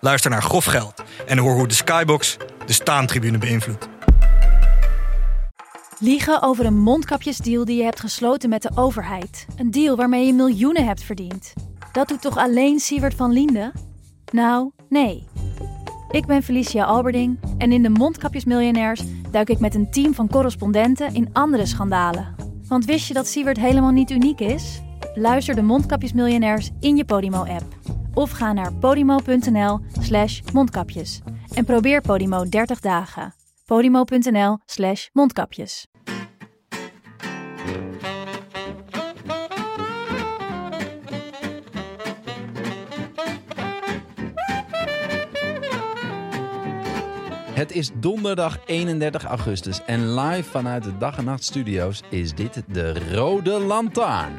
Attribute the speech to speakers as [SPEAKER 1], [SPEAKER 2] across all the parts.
[SPEAKER 1] Luister naar Grof Geld en hoor hoe de Skybox de staantribune beïnvloedt.
[SPEAKER 2] Liegen over een mondkapjesdeal die je hebt gesloten met de overheid. Een deal waarmee je miljoenen hebt verdiend. Dat doet toch alleen Siewert van Linden? Nou, nee. Ik ben Felicia Alberding en in de Mondkapjesmiljonairs duik ik met een team van correspondenten in andere schandalen. Want wist je dat Siewert helemaal niet uniek is? Luister de Mondkapjesmiljonairs in je Podimo-app. Of ga naar podimo.nl slash mondkapjes. En probeer Podimo 30 dagen. podimo.nl slash mondkapjes.
[SPEAKER 3] Het is donderdag 31 augustus en live vanuit de Dag en Nacht Studio's is dit de Rode Lantaarn.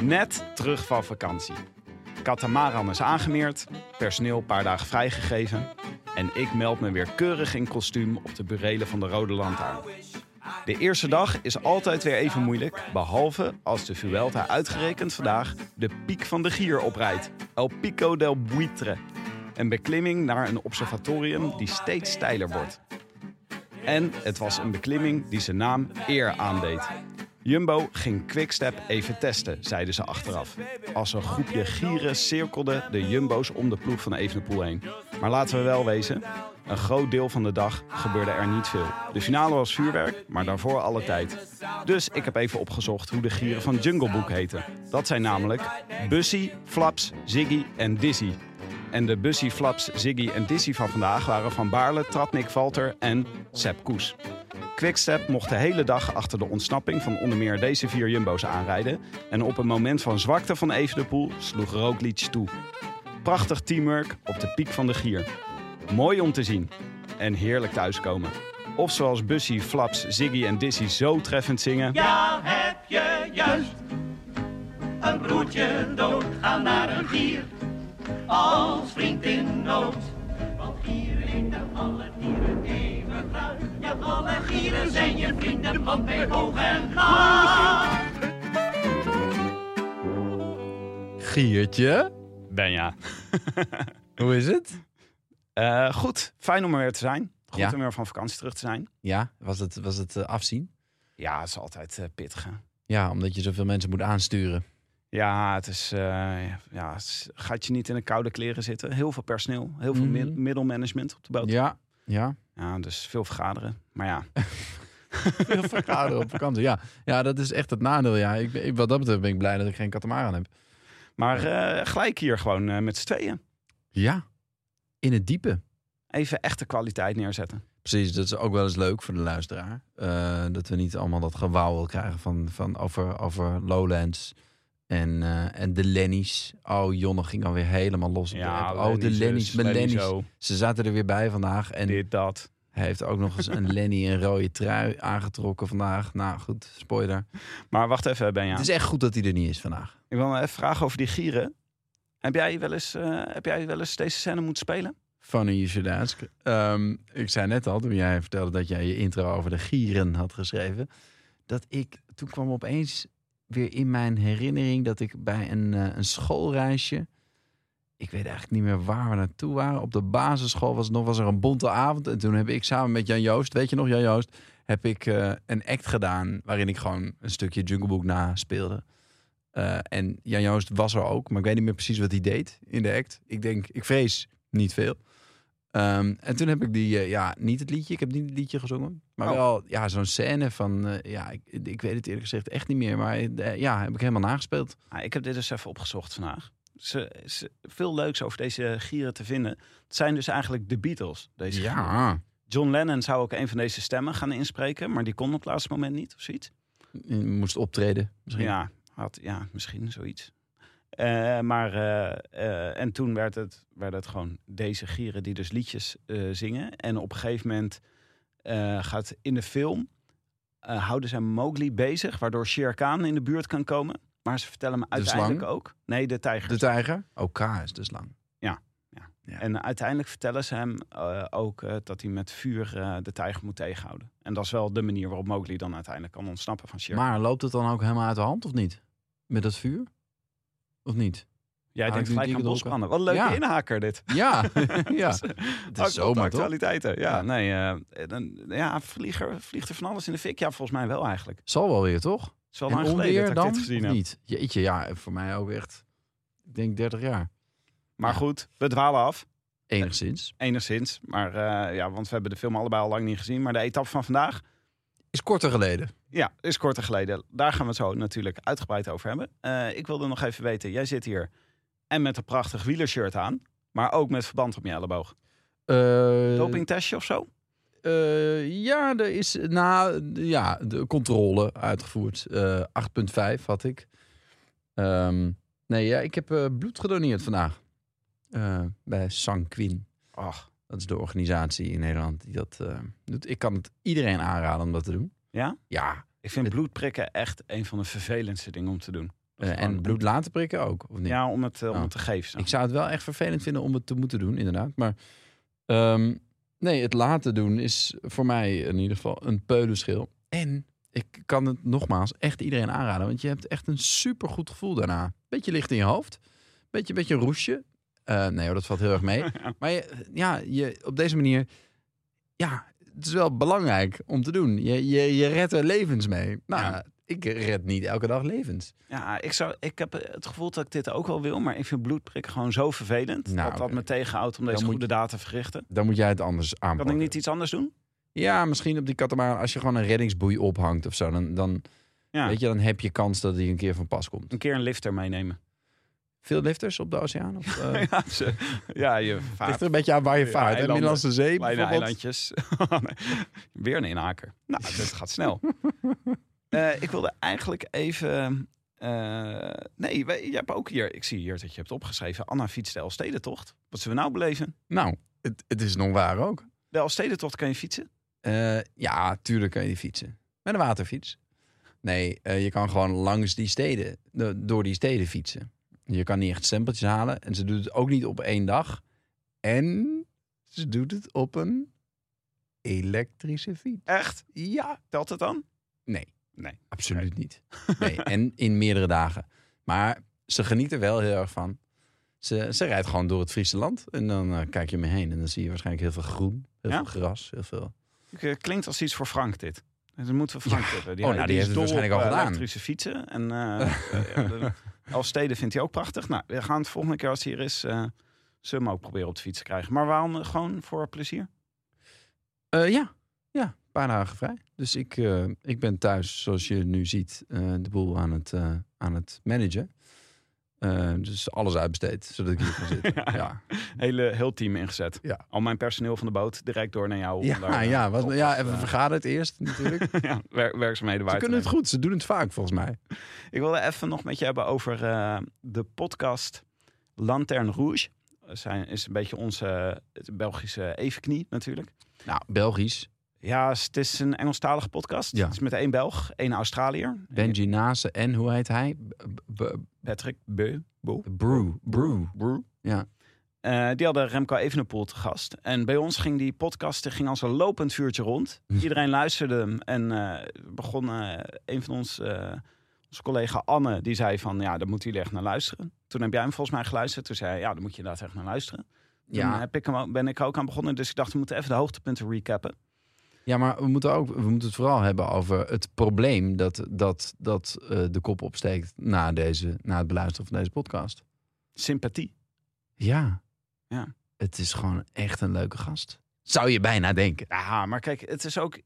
[SPEAKER 4] Net terug van vakantie. Katamaran is aangemeerd, personeel een paar dagen vrijgegeven. En ik meld me weer keurig in kostuum op de burelen van de Rode Lantaarn. De eerste dag is altijd weer even moeilijk, behalve als de Vuelta uitgerekend vandaag de piek van de gier oprijdt. El Pico del Buitre. Een beklimming naar een observatorium die steeds steiler wordt. En het was een beklimming die zijn naam eer aandeed. Jumbo ging Quickstep even testen, zeiden ze achteraf. Als een groepje gieren cirkelden de Jumbo's om de ploeg van Evenepoel heen. Maar laten we wel wezen, een groot deel van de dag gebeurde er niet veel. De finale was vuurwerk, maar daarvoor alle tijd. Dus ik heb even opgezocht hoe de gieren van Jungle Book heten. Dat zijn namelijk Bussy, Flaps, Ziggy en Dizzy. En de Bussy, Flaps, Ziggy en Dizzy van vandaag waren Van Baarle, Tratnik, Valter en Sepp Koes. Quickstep mocht de hele dag achter de ontsnapping van onder meer deze vier jumbo's aanrijden. En op een moment van zwakte van Evenepoel sloeg Roglic toe. Prachtig teamwork op de piek van de gier. Mooi om te zien. En heerlijk thuiskomen. Of zoals Bussy, Flaps, Ziggy en Dizzy zo treffend zingen.
[SPEAKER 5] Ja, heb je juist een broertje dood, ga naar een gier als vriend in nood. Want gieren eten alle dieren even fruit. Ja, alle gieren zijn je vrienden, want bij hoog en laag.
[SPEAKER 3] Giertje,
[SPEAKER 4] Benja.
[SPEAKER 3] hoe is het?
[SPEAKER 4] Eh, goed, fijn om er weer te zijn. Goed
[SPEAKER 3] Ja.
[SPEAKER 4] om weer van vakantie terug te zijn.
[SPEAKER 3] Ja, was het, was het eh, afzien?
[SPEAKER 4] Ja, het is altijd eh, pittig. hè.
[SPEAKER 3] Ja, omdat je zoveel mensen moet aansturen.
[SPEAKER 4] Ja, het is, eh, ja, het is- gaat je niet in de koude kleren zitten. Heel veel personeel, heel veel mi-
[SPEAKER 3] Mhm.
[SPEAKER 4] middelmanagement op de boot. Ja.
[SPEAKER 3] Ja, ja.
[SPEAKER 4] dus veel vergaderen. Maar ja,
[SPEAKER 3] Veel vergaderen op vakantie. Ja. ja, dat is echt het nadeel. Ja. Ik, ben- ik- wat dat betreft ben ik blij dat ik geen katamaran heb.
[SPEAKER 4] maar eh, gelijk hier gewoon eh, met z'n tweeën.
[SPEAKER 3] Ja, in het diepe.
[SPEAKER 4] Even echte kwaliteit neerzetten.
[SPEAKER 3] Precies, dat is ook wel eens leuk voor de luisteraar. Eh, dat we niet allemaal dat gewauwel krijgen van, van over, over Lowlands en, eh, en de Lennies. Oh, Jonne ging alweer helemaal los. op de app. oh, de Lennies, mijn Lennies.
[SPEAKER 4] Lennies.
[SPEAKER 3] Ze zaten er weer bij vandaag. En
[SPEAKER 4] Dit, dat.
[SPEAKER 3] hij heeft ook nog eens een Lenny in rode trui aangetrokken vandaag. Nou goed, spoiler.
[SPEAKER 4] Maar wacht even, Benja.
[SPEAKER 3] Het is echt goed dat hij er niet is vandaag.
[SPEAKER 4] Ik wil me even vragen over die gieren. Heb jij wel eens, eh, heb jij wel eens deze scène moeten spelen?
[SPEAKER 3] Funny you should ask. Ehm, ik zei net al, toen jij vertelde dat jij je intro over de gieren had geschreven, dat ik toen kwam opeens weer in mijn herinnering dat ik bij een, eh, een schoolreisje, ik weet eigenlijk niet meer waar we naartoe waren, op de basisschool was het nog was er een bonte avond en toen heb ik samen met Jan Joost, weet je nog Jan Joost, heb ik eh, een act gedaan waarin ik gewoon een stukje Jungle Book naspeelde. Eh en Jan Joost was er ook, maar ik weet niet meer precies wat hij deed in de act. Ik denk, ik vrees niet veel. Ehm, en toen heb ik die, eh, ja, niet het liedje, ik heb niet het liedje gezongen, maar
[SPEAKER 4] Oh.
[SPEAKER 3] wel ja, zo'n scène van, eh, ja, ik, ik weet het eerlijk gezegd echt niet meer, maar eh, ja, heb ik helemaal nagespeeld.
[SPEAKER 4] Ah, ik heb dit dus even opgezocht vandaag. Ze, ze- veel leuks over deze gieren te vinden. Het zijn dus eigenlijk de Beatles. Deze gieren. John Lennon zou ook een van deze stemmen gaan inspreken, maar die kon op het laatste moment niet of zoiets.
[SPEAKER 3] Je moest optreden. Misschien.
[SPEAKER 4] Ja, had, ja, misschien zoiets. Eh, maar, eh, eh, en toen werd het, werd het gewoon deze gieren die dus liedjes eh, zingen. En op een gegeven moment eh, gaat in de film, eh, houden zij Mowgli bezig, waardoor Shere Khan in de buurt kan komen. Maar ze vertellen hem
[SPEAKER 3] De slang?
[SPEAKER 4] uiteindelijk ook. Nee, de tijger.
[SPEAKER 3] De tijger? OK is dus lang. Ja.
[SPEAKER 4] En uiteindelijk vertellen ze hem eh, ook eh, dat hij met vuur eh, de tijger moet tegenhouden. En dat is wel de manier waarop Mowgli dan uiteindelijk kan ontsnappen van Shere Khan.
[SPEAKER 3] Maar loopt het dan ook helemaal uit de hand of niet? Met dat vuur? Of niet?
[SPEAKER 4] Jij
[SPEAKER 3] Ah, ik doe
[SPEAKER 4] denkt gelijk aan
[SPEAKER 3] die gedronken.
[SPEAKER 4] bosbranden. Wat een leuke
[SPEAKER 3] Ja.
[SPEAKER 4] inhaker dit.
[SPEAKER 3] Ja, ja.
[SPEAKER 4] Het
[SPEAKER 3] is zomaar, toch?
[SPEAKER 4] eh, actualiteiten. Ja,
[SPEAKER 3] Ja.
[SPEAKER 4] nee. eh, dan, ja, vlieger, vliegt er van alles in de fik? Ja, volgens mij wel eigenlijk. Het
[SPEAKER 3] Zal wel weer, toch?
[SPEAKER 4] is wel
[SPEAKER 3] en
[SPEAKER 4] lang geleden
[SPEAKER 3] onweer
[SPEAKER 4] dat ik
[SPEAKER 3] dan?
[SPEAKER 4] dit gezien
[SPEAKER 3] of
[SPEAKER 4] heb.
[SPEAKER 3] niet? Jeetje, ja, voor mij ook echt, ik denk 30 jaar.
[SPEAKER 4] Maar goed, we dwalen af.
[SPEAKER 3] Enigszins.
[SPEAKER 4] Enigszins. Maar eh, ja, want we hebben de film allebei al lang niet gezien. Maar de etappe van vandaag,
[SPEAKER 3] Is korter geleden.
[SPEAKER 4] ja, is korter geleden. Daar gaan we het zo natuurlijk uitgebreid over hebben. Eh, ik wilde nog even weten, jij zit hier en met een prachtig wielershirt aan. Maar ook met verband om je elleboog.
[SPEAKER 3] Eh,
[SPEAKER 4] Dopingtestje of zo?
[SPEAKER 3] eh, ja, er is na ja, de controle uitgevoerd. Eh, 8,5 had ik. Ehm, nee, ja, ik heb eh, bloed gedoneerd vandaag. Eh, bij Sanquin.
[SPEAKER 4] Ach,
[SPEAKER 3] Dat is de organisatie in Nederland die dat eh, doet. Ik kan het iedereen aanraden om dat te doen.
[SPEAKER 4] Ja?
[SPEAKER 3] Ja.
[SPEAKER 4] ik vind
[SPEAKER 3] Het-
[SPEAKER 4] bloedprikken echt een van de vervelendste dingen om te doen.
[SPEAKER 3] eh, en
[SPEAKER 4] Gewoon-
[SPEAKER 3] bloed laten prikken ook, of niet?
[SPEAKER 4] Ja, om het, eh, om
[SPEAKER 3] Oh.
[SPEAKER 4] het te geven. zeg
[SPEAKER 3] Ik zou het wel echt vervelend vinden om het te moeten doen, inderdaad. Maar ehm, nee, het laten doen is voor mij in ieder geval een peulenschil. En ik kan het nogmaals echt iedereen aanraden. Want je hebt echt een supergoed gevoel daarna. Beetje licht in je hoofd. Beetje, beetje een roesje. Eh, nee hoor, dat valt heel erg mee. Maar je, ja, je, op deze manier... Ja, het is wel belangrijk om te doen. Je, je, je redt er levens mee. Nou,
[SPEAKER 4] Ja.
[SPEAKER 3] ik red niet elke dag levens.
[SPEAKER 4] Ja, ik, zou, ik heb het gevoel dat ik dit ook wel wil, maar ik vind bloedprikken gewoon zo vervelend.
[SPEAKER 3] Nou,
[SPEAKER 4] dat dat
[SPEAKER 3] oké.
[SPEAKER 4] me tegenhoudt om deze
[SPEAKER 3] Dan moet
[SPEAKER 4] goede
[SPEAKER 3] je-
[SPEAKER 4] daad te verrichten.
[SPEAKER 3] Dan moet jij het anders aanpakken.
[SPEAKER 4] Kan ik niet iets anders doen?
[SPEAKER 3] Ja, misschien op die katamaran. Als je gewoon een reddingsboei ophangt of zo, dan, dan,
[SPEAKER 4] Ja,
[SPEAKER 3] weet je, dan heb je kans dat die een keer van pas komt.
[SPEAKER 4] een keer een lifter meenemen.
[SPEAKER 3] Veel lifters op de oceaan? Of, eh,
[SPEAKER 4] ja, ze- ja, je
[SPEAKER 3] ligt
[SPEAKER 4] vaart
[SPEAKER 3] er een beetje aan waar je
[SPEAKER 4] Ja,
[SPEAKER 3] vaart. hè?
[SPEAKER 4] eilanden.
[SPEAKER 3] Middellandse Zee
[SPEAKER 4] kleine
[SPEAKER 3] bijvoorbeeld.
[SPEAKER 4] eilandjes. Nee, Weer een inhaker. Nou, dit gaat snel. Eh, ik wilde eigenlijk even... eh, nee, wij- je hebt ook hier... Ik zie hier dat je hebt opgeschreven. Anna fietst de Elstedentocht. Wat zullen we nou beleven?
[SPEAKER 3] Nou, het, het is nog waar ook.
[SPEAKER 4] De Elstedentocht kan je fietsen?
[SPEAKER 3] Eh, ja, tuurlijk kan je die fietsen. Met een waterfiets. Nee, eh, je kan gewoon langs die steden, de- door die steden fietsen. Je kan niet echt stempeltjes halen. En ze doet het ook niet op één dag. En ze doet het op een elektrische fiets.
[SPEAKER 4] Echt?
[SPEAKER 3] Ja,
[SPEAKER 4] Telt het dan?
[SPEAKER 3] Nee.
[SPEAKER 4] Nee.
[SPEAKER 3] Absoluut niet. Nee. En in meerdere dagen. Maar ze geniet er wel heel erg van. Ze, ze rijdt gewoon door het Friese land. En dan eh, kijk je me heen. En dan zie je waarschijnlijk heel veel groen. Heel
[SPEAKER 4] Ja?
[SPEAKER 3] veel gras. Heel veel...
[SPEAKER 4] Ik, eh, Klinkt als iets voor Frank dit. Dus dan moeten we Frank
[SPEAKER 3] Ja.
[SPEAKER 4] hebben.
[SPEAKER 3] Oh, nou, die heeft
[SPEAKER 4] is
[SPEAKER 3] het
[SPEAKER 4] dol op,
[SPEAKER 3] waarschijnlijk al
[SPEAKER 4] eh,
[SPEAKER 3] gedaan.
[SPEAKER 4] elektrische fietsen. En eh, als steden vindt hij ook prachtig. Nou, we gaan het volgende keer als hij hier is... eh zullen we hem ook proberen op de fiets te krijgen. Maar waarom eh, gewoon voor plezier?
[SPEAKER 3] Eh, ja. Ja. Een paar dagen vrij. Dus ik, eh, ik ben thuis, zoals je nu ziet, eh, de boel aan het, eh, aan het managen. Eh, dus alles uitbesteed, zodat ik hier kan zitten.
[SPEAKER 4] Ja.
[SPEAKER 3] ja.
[SPEAKER 4] Hele, heel team ingezet.
[SPEAKER 3] Ja.
[SPEAKER 4] Al mijn personeel van de boot direct door naar jou. om daar,
[SPEAKER 3] Ja,
[SPEAKER 4] eh,
[SPEAKER 3] ja, wat,
[SPEAKER 4] op-
[SPEAKER 3] ja,
[SPEAKER 4] eh,
[SPEAKER 3] even vergaderen het eerst natuurlijk.
[SPEAKER 4] ja, wer- werkzaamheden
[SPEAKER 3] Ze
[SPEAKER 4] waar te
[SPEAKER 3] kunnen het
[SPEAKER 4] nemen.
[SPEAKER 3] goed, ze doen het vaak volgens mij.
[SPEAKER 4] Ik wilde even nog met je hebben over eh, de podcast Lanterne Rouge. Dat zijn, is een beetje onze eh, Belgische evenknie natuurlijk.
[SPEAKER 3] Nou, Belgisch.
[SPEAKER 4] Ja, s- het is een Engelstalige podcast.
[SPEAKER 3] Ja.
[SPEAKER 4] Het is met één Belg, één Australiër.
[SPEAKER 3] Benji Nase en hoe heet hij? B- b-
[SPEAKER 4] Patrick Beu. Bo.
[SPEAKER 3] Brew. Brew.
[SPEAKER 4] Brew.
[SPEAKER 3] Ja.
[SPEAKER 4] Eh, die hadden Remco Evenepoel te gast. En bij ons ging die podcast die ging als een lopend vuurtje rond. Iedereen luisterde hem. En eh, begon eh, een van ons, eh, onze collega Anne, die zei van... Ja, daar moeten jullie echt naar luisteren. Toen heb jij hem volgens mij geluisterd. Toen zei hij, ja, daar moet je inderdaad echt naar luisteren. Toen
[SPEAKER 3] Ja.
[SPEAKER 4] heb ik hem, ook- ben ik ook aan begonnen. Dus ik dacht, we moeten even de hoogtepunten recappen.
[SPEAKER 3] ja, maar we moeten, ook, we moeten het vooral hebben over het probleem dat, dat, dat eh, de kop opsteekt na, deze, na het beluisteren van deze podcast.
[SPEAKER 4] Sympathie.
[SPEAKER 3] Ja.
[SPEAKER 4] Ja.
[SPEAKER 3] Het is gewoon echt een leuke gast. Zou je bijna denken.
[SPEAKER 4] Ja, maar kijk, het is ook.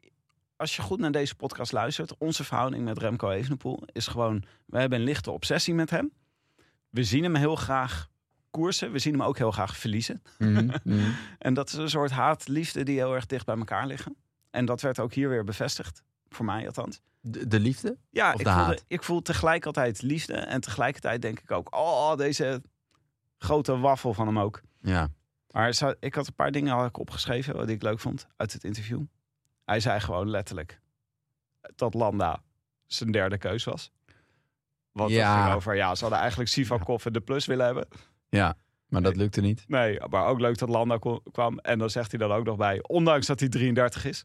[SPEAKER 4] Als je goed naar deze podcast luistert, onze verhouding met Remco Evenepoel is gewoon. We hebben een lichte obsessie met hem. We zien hem heel graag. koersen. We zien hem ook heel graag verliezen.
[SPEAKER 3] Mhm, mhm.
[SPEAKER 4] En dat is een soort haat-liefde die heel erg dicht bij elkaar liggen. En dat werd ook hier weer bevestigd. Voor mij althans.
[SPEAKER 3] De, de liefde?
[SPEAKER 4] Ja,
[SPEAKER 3] Of
[SPEAKER 4] ik
[SPEAKER 3] de
[SPEAKER 4] voel,
[SPEAKER 3] haat.
[SPEAKER 4] ik voel tegelijk altijd liefde. En tegelijkertijd denk ik ook, oh, deze grote waffel van hem ook.
[SPEAKER 3] Ja.
[SPEAKER 4] Maar zo- ik had een paar dingen had ik opgeschreven wat ik leuk vond uit het interview. Hij zei gewoon letterlijk dat Landa zijn derde keus was. Want
[SPEAKER 3] Ja.
[SPEAKER 4] dat ging over, ja, ze hadden eigenlijk Sivakov en de plus willen hebben.
[SPEAKER 3] ja, maar dat lukte niet.
[SPEAKER 4] Nee, maar ook leuk dat Landa ko- kwam. En dan zegt hij dan ook nog bij, ondanks dat hij 33 is.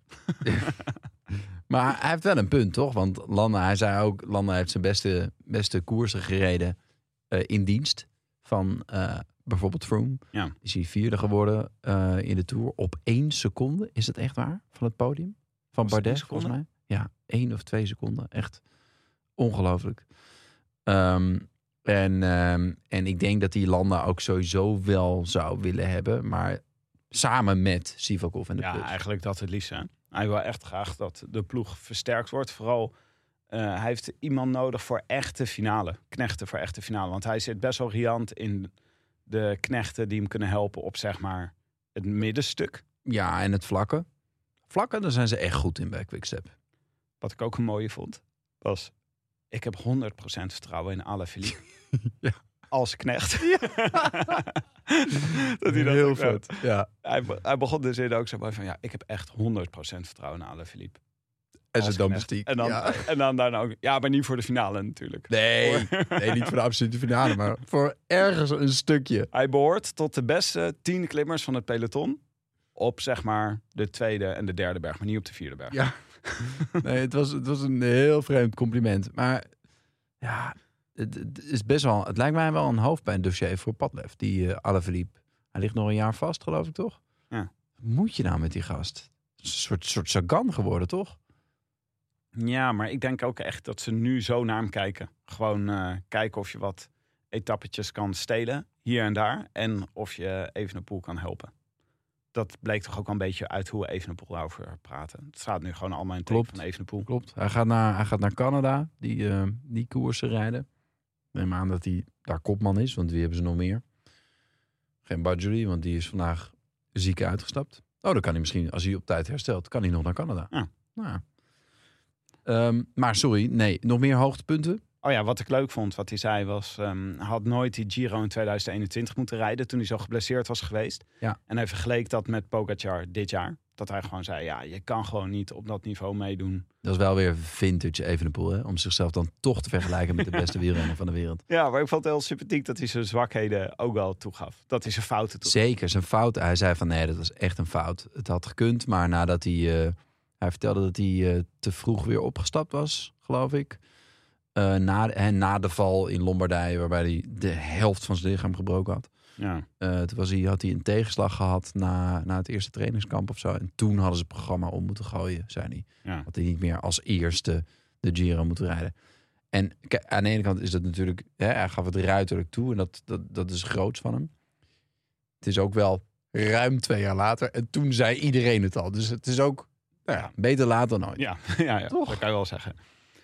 [SPEAKER 3] Maar hij heeft wel een punt, toch? Want Landa, hij zei ook, Landa heeft zijn beste, beste koersen gereden eh, in dienst van eh, bijvoorbeeld Froome.
[SPEAKER 4] Ja.
[SPEAKER 3] Is hij vierde geworden eh, in de Tour op één seconde. Is dat echt waar? Van het podium? Van
[SPEAKER 4] Was het
[SPEAKER 3] Bardet,
[SPEAKER 4] één
[SPEAKER 3] volgens mij. Ja, één of twee seconden. Echt ongelooflijk. Ehm, en, ehm, en ik denk dat die Landa ook sowieso wel zou willen hebben. Maar samen met Sivakov en de
[SPEAKER 4] Ja,
[SPEAKER 3] Plus.
[SPEAKER 4] eigenlijk dat het liefst. Hè? Hij wil echt graag dat de ploeg versterkt wordt. Vooral, eh, hij heeft iemand nodig voor echte finale. Knechten voor echte finale. Want hij zit best wel riant in de knechten die hem kunnen helpen op zeg maar het middenstuk.
[SPEAKER 3] Ja, en het vlakken. Vlakken, daar zijn ze echt goed in bij Quickstep.
[SPEAKER 4] Wat ik ook een mooie vond, was... Ik heb 100% vertrouwen in alle Philippe.
[SPEAKER 3] Ja.
[SPEAKER 4] Als knecht. dat hij dat ook doet.
[SPEAKER 3] Ja.
[SPEAKER 4] Hij, be- hij begon de zin ook zo mooi van... Ja, ik heb echt 100% vertrouwen in alle Philippe.
[SPEAKER 3] En
[SPEAKER 4] Als
[SPEAKER 3] ze domestiek.
[SPEAKER 4] En dan,
[SPEAKER 3] Ja.
[SPEAKER 4] en dan daarna ook... Ja, maar niet voor de finale natuurlijk.
[SPEAKER 3] Nee, nee, niet voor de absolute finale, maar voor ergens een stukje.
[SPEAKER 4] Hij behoort tot de beste tien klimmers van het peloton. Op zeg maar de tweede en de derde berg, maar niet op de vierde berg.
[SPEAKER 3] Ja. Nee, het was, het was een heel vreemd compliment. Maar ja, het, het is best wel, het lijkt mij wel een hoofdpijndossier voor Padlef, die eh Alaphilippe. Hij ligt nog een jaar vast, geloof ik, toch?
[SPEAKER 4] Ja.
[SPEAKER 3] Wat moet je nou met die gast? Het is Een soort, soort Sagan geworden, toch?
[SPEAKER 4] Ja, maar ik denk ook echt dat ze nu zo naar hem kijken. Gewoon eh, kijken of je wat etappetjes kan stelen, hier en daar. En of je Evenepoel kan helpen. Dat bleek toch ook wel een beetje uit hoe Evenepoel daarover praten. Het staat nu gewoon allemaal in het teken
[SPEAKER 3] Klopt.
[SPEAKER 4] van Evenepoel.
[SPEAKER 3] Klopt. Hij gaat naar, hij gaat naar Canada, die, eh, die koersen rijden. Ik Neem aan dat hij daar kopman is, want wie hebben ze nog meer? Geen Badgery, want die is vandaag ziek uitgestapt. Oh, dan kan hij misschien, als hij op tijd herstelt, kan hij nog naar Canada.
[SPEAKER 4] Ja.
[SPEAKER 3] Nou. Ehm, maar sorry, nee, nog meer hoogtepunten?
[SPEAKER 4] Oh ja, wat ik leuk vond, wat hij zei was... ehm, hij had nooit die Giro in 2021 moeten rijden toen hij zo geblesseerd was geweest.
[SPEAKER 3] Ja.
[SPEAKER 4] En hij vergeleek dat met Pogacar dit jaar. Dat hij gewoon zei, ja, je kan gewoon niet op dat niveau meedoen.
[SPEAKER 3] Dat is wel weer vintage Evenepoel, hè? Om zichzelf dan toch te vergelijken met de beste wielrenner van de wereld.
[SPEAKER 4] Ja, maar ik vond het heel sympathiek dat hij zijn zwakheden ook wel toegaf. Dat hij zijn fouten toegaf.
[SPEAKER 3] Zeker, zijn fout. Hij zei van nee, dat was echt een fout. Het had gekund, maar nadat hij... eh, hij vertelde dat hij eh, te vroeg weer opgestapt was, geloof ik. Eh, na, en na de val in Lombardije, waarbij hij de helft van zijn lichaam gebroken had.
[SPEAKER 4] Ja.
[SPEAKER 3] Eh, toen was hij, had hij een tegenslag gehad na, na het eerste trainingskamp of zo. En toen hadden ze het programma om moeten gooien, zei hij.
[SPEAKER 4] Ja.
[SPEAKER 3] Had hij niet meer als eerste de Giro moeten rijden. En k- aan de ene kant is dat natuurlijk... Hè, hij gaf het ruiterlijk toe en dat, dat, dat is groots van hem. Het is ook wel ruim twee jaar later. En toen zei iedereen het al. Dus het is ook nou ja, beter laat dan nooit.
[SPEAKER 4] Ja, ja, ja.
[SPEAKER 3] Toch?
[SPEAKER 4] dat kan je wel zeggen.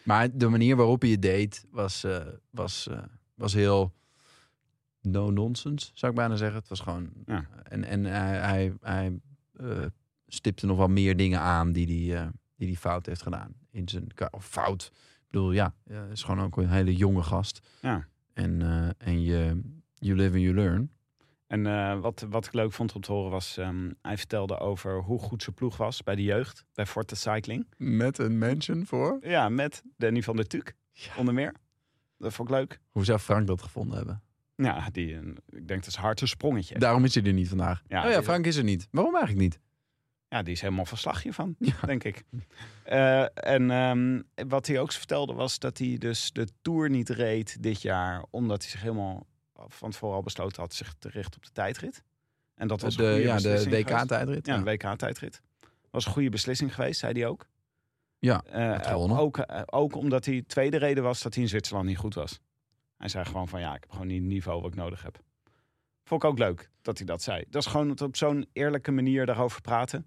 [SPEAKER 3] Maar de manier waarop hij het deed was, eh, was, eh, was heel no-nonsense, zou ik bijna zeggen. Het was gewoon... eh,
[SPEAKER 4] Ja.
[SPEAKER 3] En, en hij, hij, hij eh, stipte nog wel meer dingen aan die, die hij die die fout heeft gedaan. In zijn, ka- of fout. Ik bedoel, ja, eh, is gewoon ook een hele jonge gast.
[SPEAKER 4] Ja.
[SPEAKER 3] En, eh, en je, you live and you learn.
[SPEAKER 4] En eh, wat, wat ik leuk vond om te horen was... ehm, hij vertelde over hoe goed zijn ploeg was bij de jeugd. Bij Forte Cycling.
[SPEAKER 3] Met een mention voor?
[SPEAKER 4] Ja, met Danny van der Tuuk.
[SPEAKER 3] Ja.
[SPEAKER 4] Onder meer. Dat vond ik leuk.
[SPEAKER 3] Hoe zou Frank dat gevonden hebben?
[SPEAKER 4] Ja, die, eh, ik denk dat is hard een sprongetje.
[SPEAKER 3] Daarom is hij er niet vandaag.
[SPEAKER 4] Ja,
[SPEAKER 3] oh ja,
[SPEAKER 4] die-
[SPEAKER 3] Frank is er niet. Waarom eigenlijk niet?
[SPEAKER 4] Ja, die is helemaal van slag hiervan,
[SPEAKER 3] Ja.
[SPEAKER 4] denk ik. Eh, en ehm, wat hij ook vertelde was dat hij dus de Tour niet reed dit jaar... omdat hij zich helemaal van tevoren al besloten had zich te richten op de tijdrit. En dat was
[SPEAKER 3] de,
[SPEAKER 4] een goede
[SPEAKER 3] ja, de
[SPEAKER 4] beslissing geweest.
[SPEAKER 3] WK-tijdrit.
[SPEAKER 4] Ja, een WK-tijdrit. Was een goede beslissing geweest, zei hij ook.
[SPEAKER 3] Ja,
[SPEAKER 4] Eh,
[SPEAKER 3] had gewonnen.
[SPEAKER 4] ook, eh, ook omdat hij tweede reden was dat hij in Zwitserland niet goed was. Hij zei gewoon van ja, ik heb gewoon niet het niveau wat ik nodig heb. Vond ik ook leuk dat hij dat zei. Dat is gewoon het op zo'n eerlijke manier daarover praten.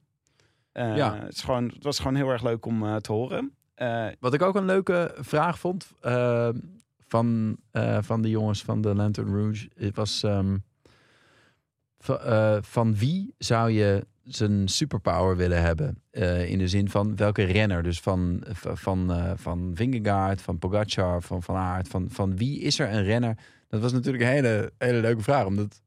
[SPEAKER 4] Eh,
[SPEAKER 3] Ja.
[SPEAKER 4] het, is gewoon, het was gewoon heel erg leuk om eh, te horen. Eh,
[SPEAKER 3] Wat ik ook een leuke vraag vond eh, van, eh, van de jongens van de Lantern Rouge, het was ehm, v- eh, van wie zou je zijn superpower willen hebben? Eh, in de zin van welke renner? Dus van, v- van, eh, van Vingegaard, van Pogacar, van Van Aert. Van, van wie is er een renner? Dat was natuurlijk een hele, hele leuke vraag, omdat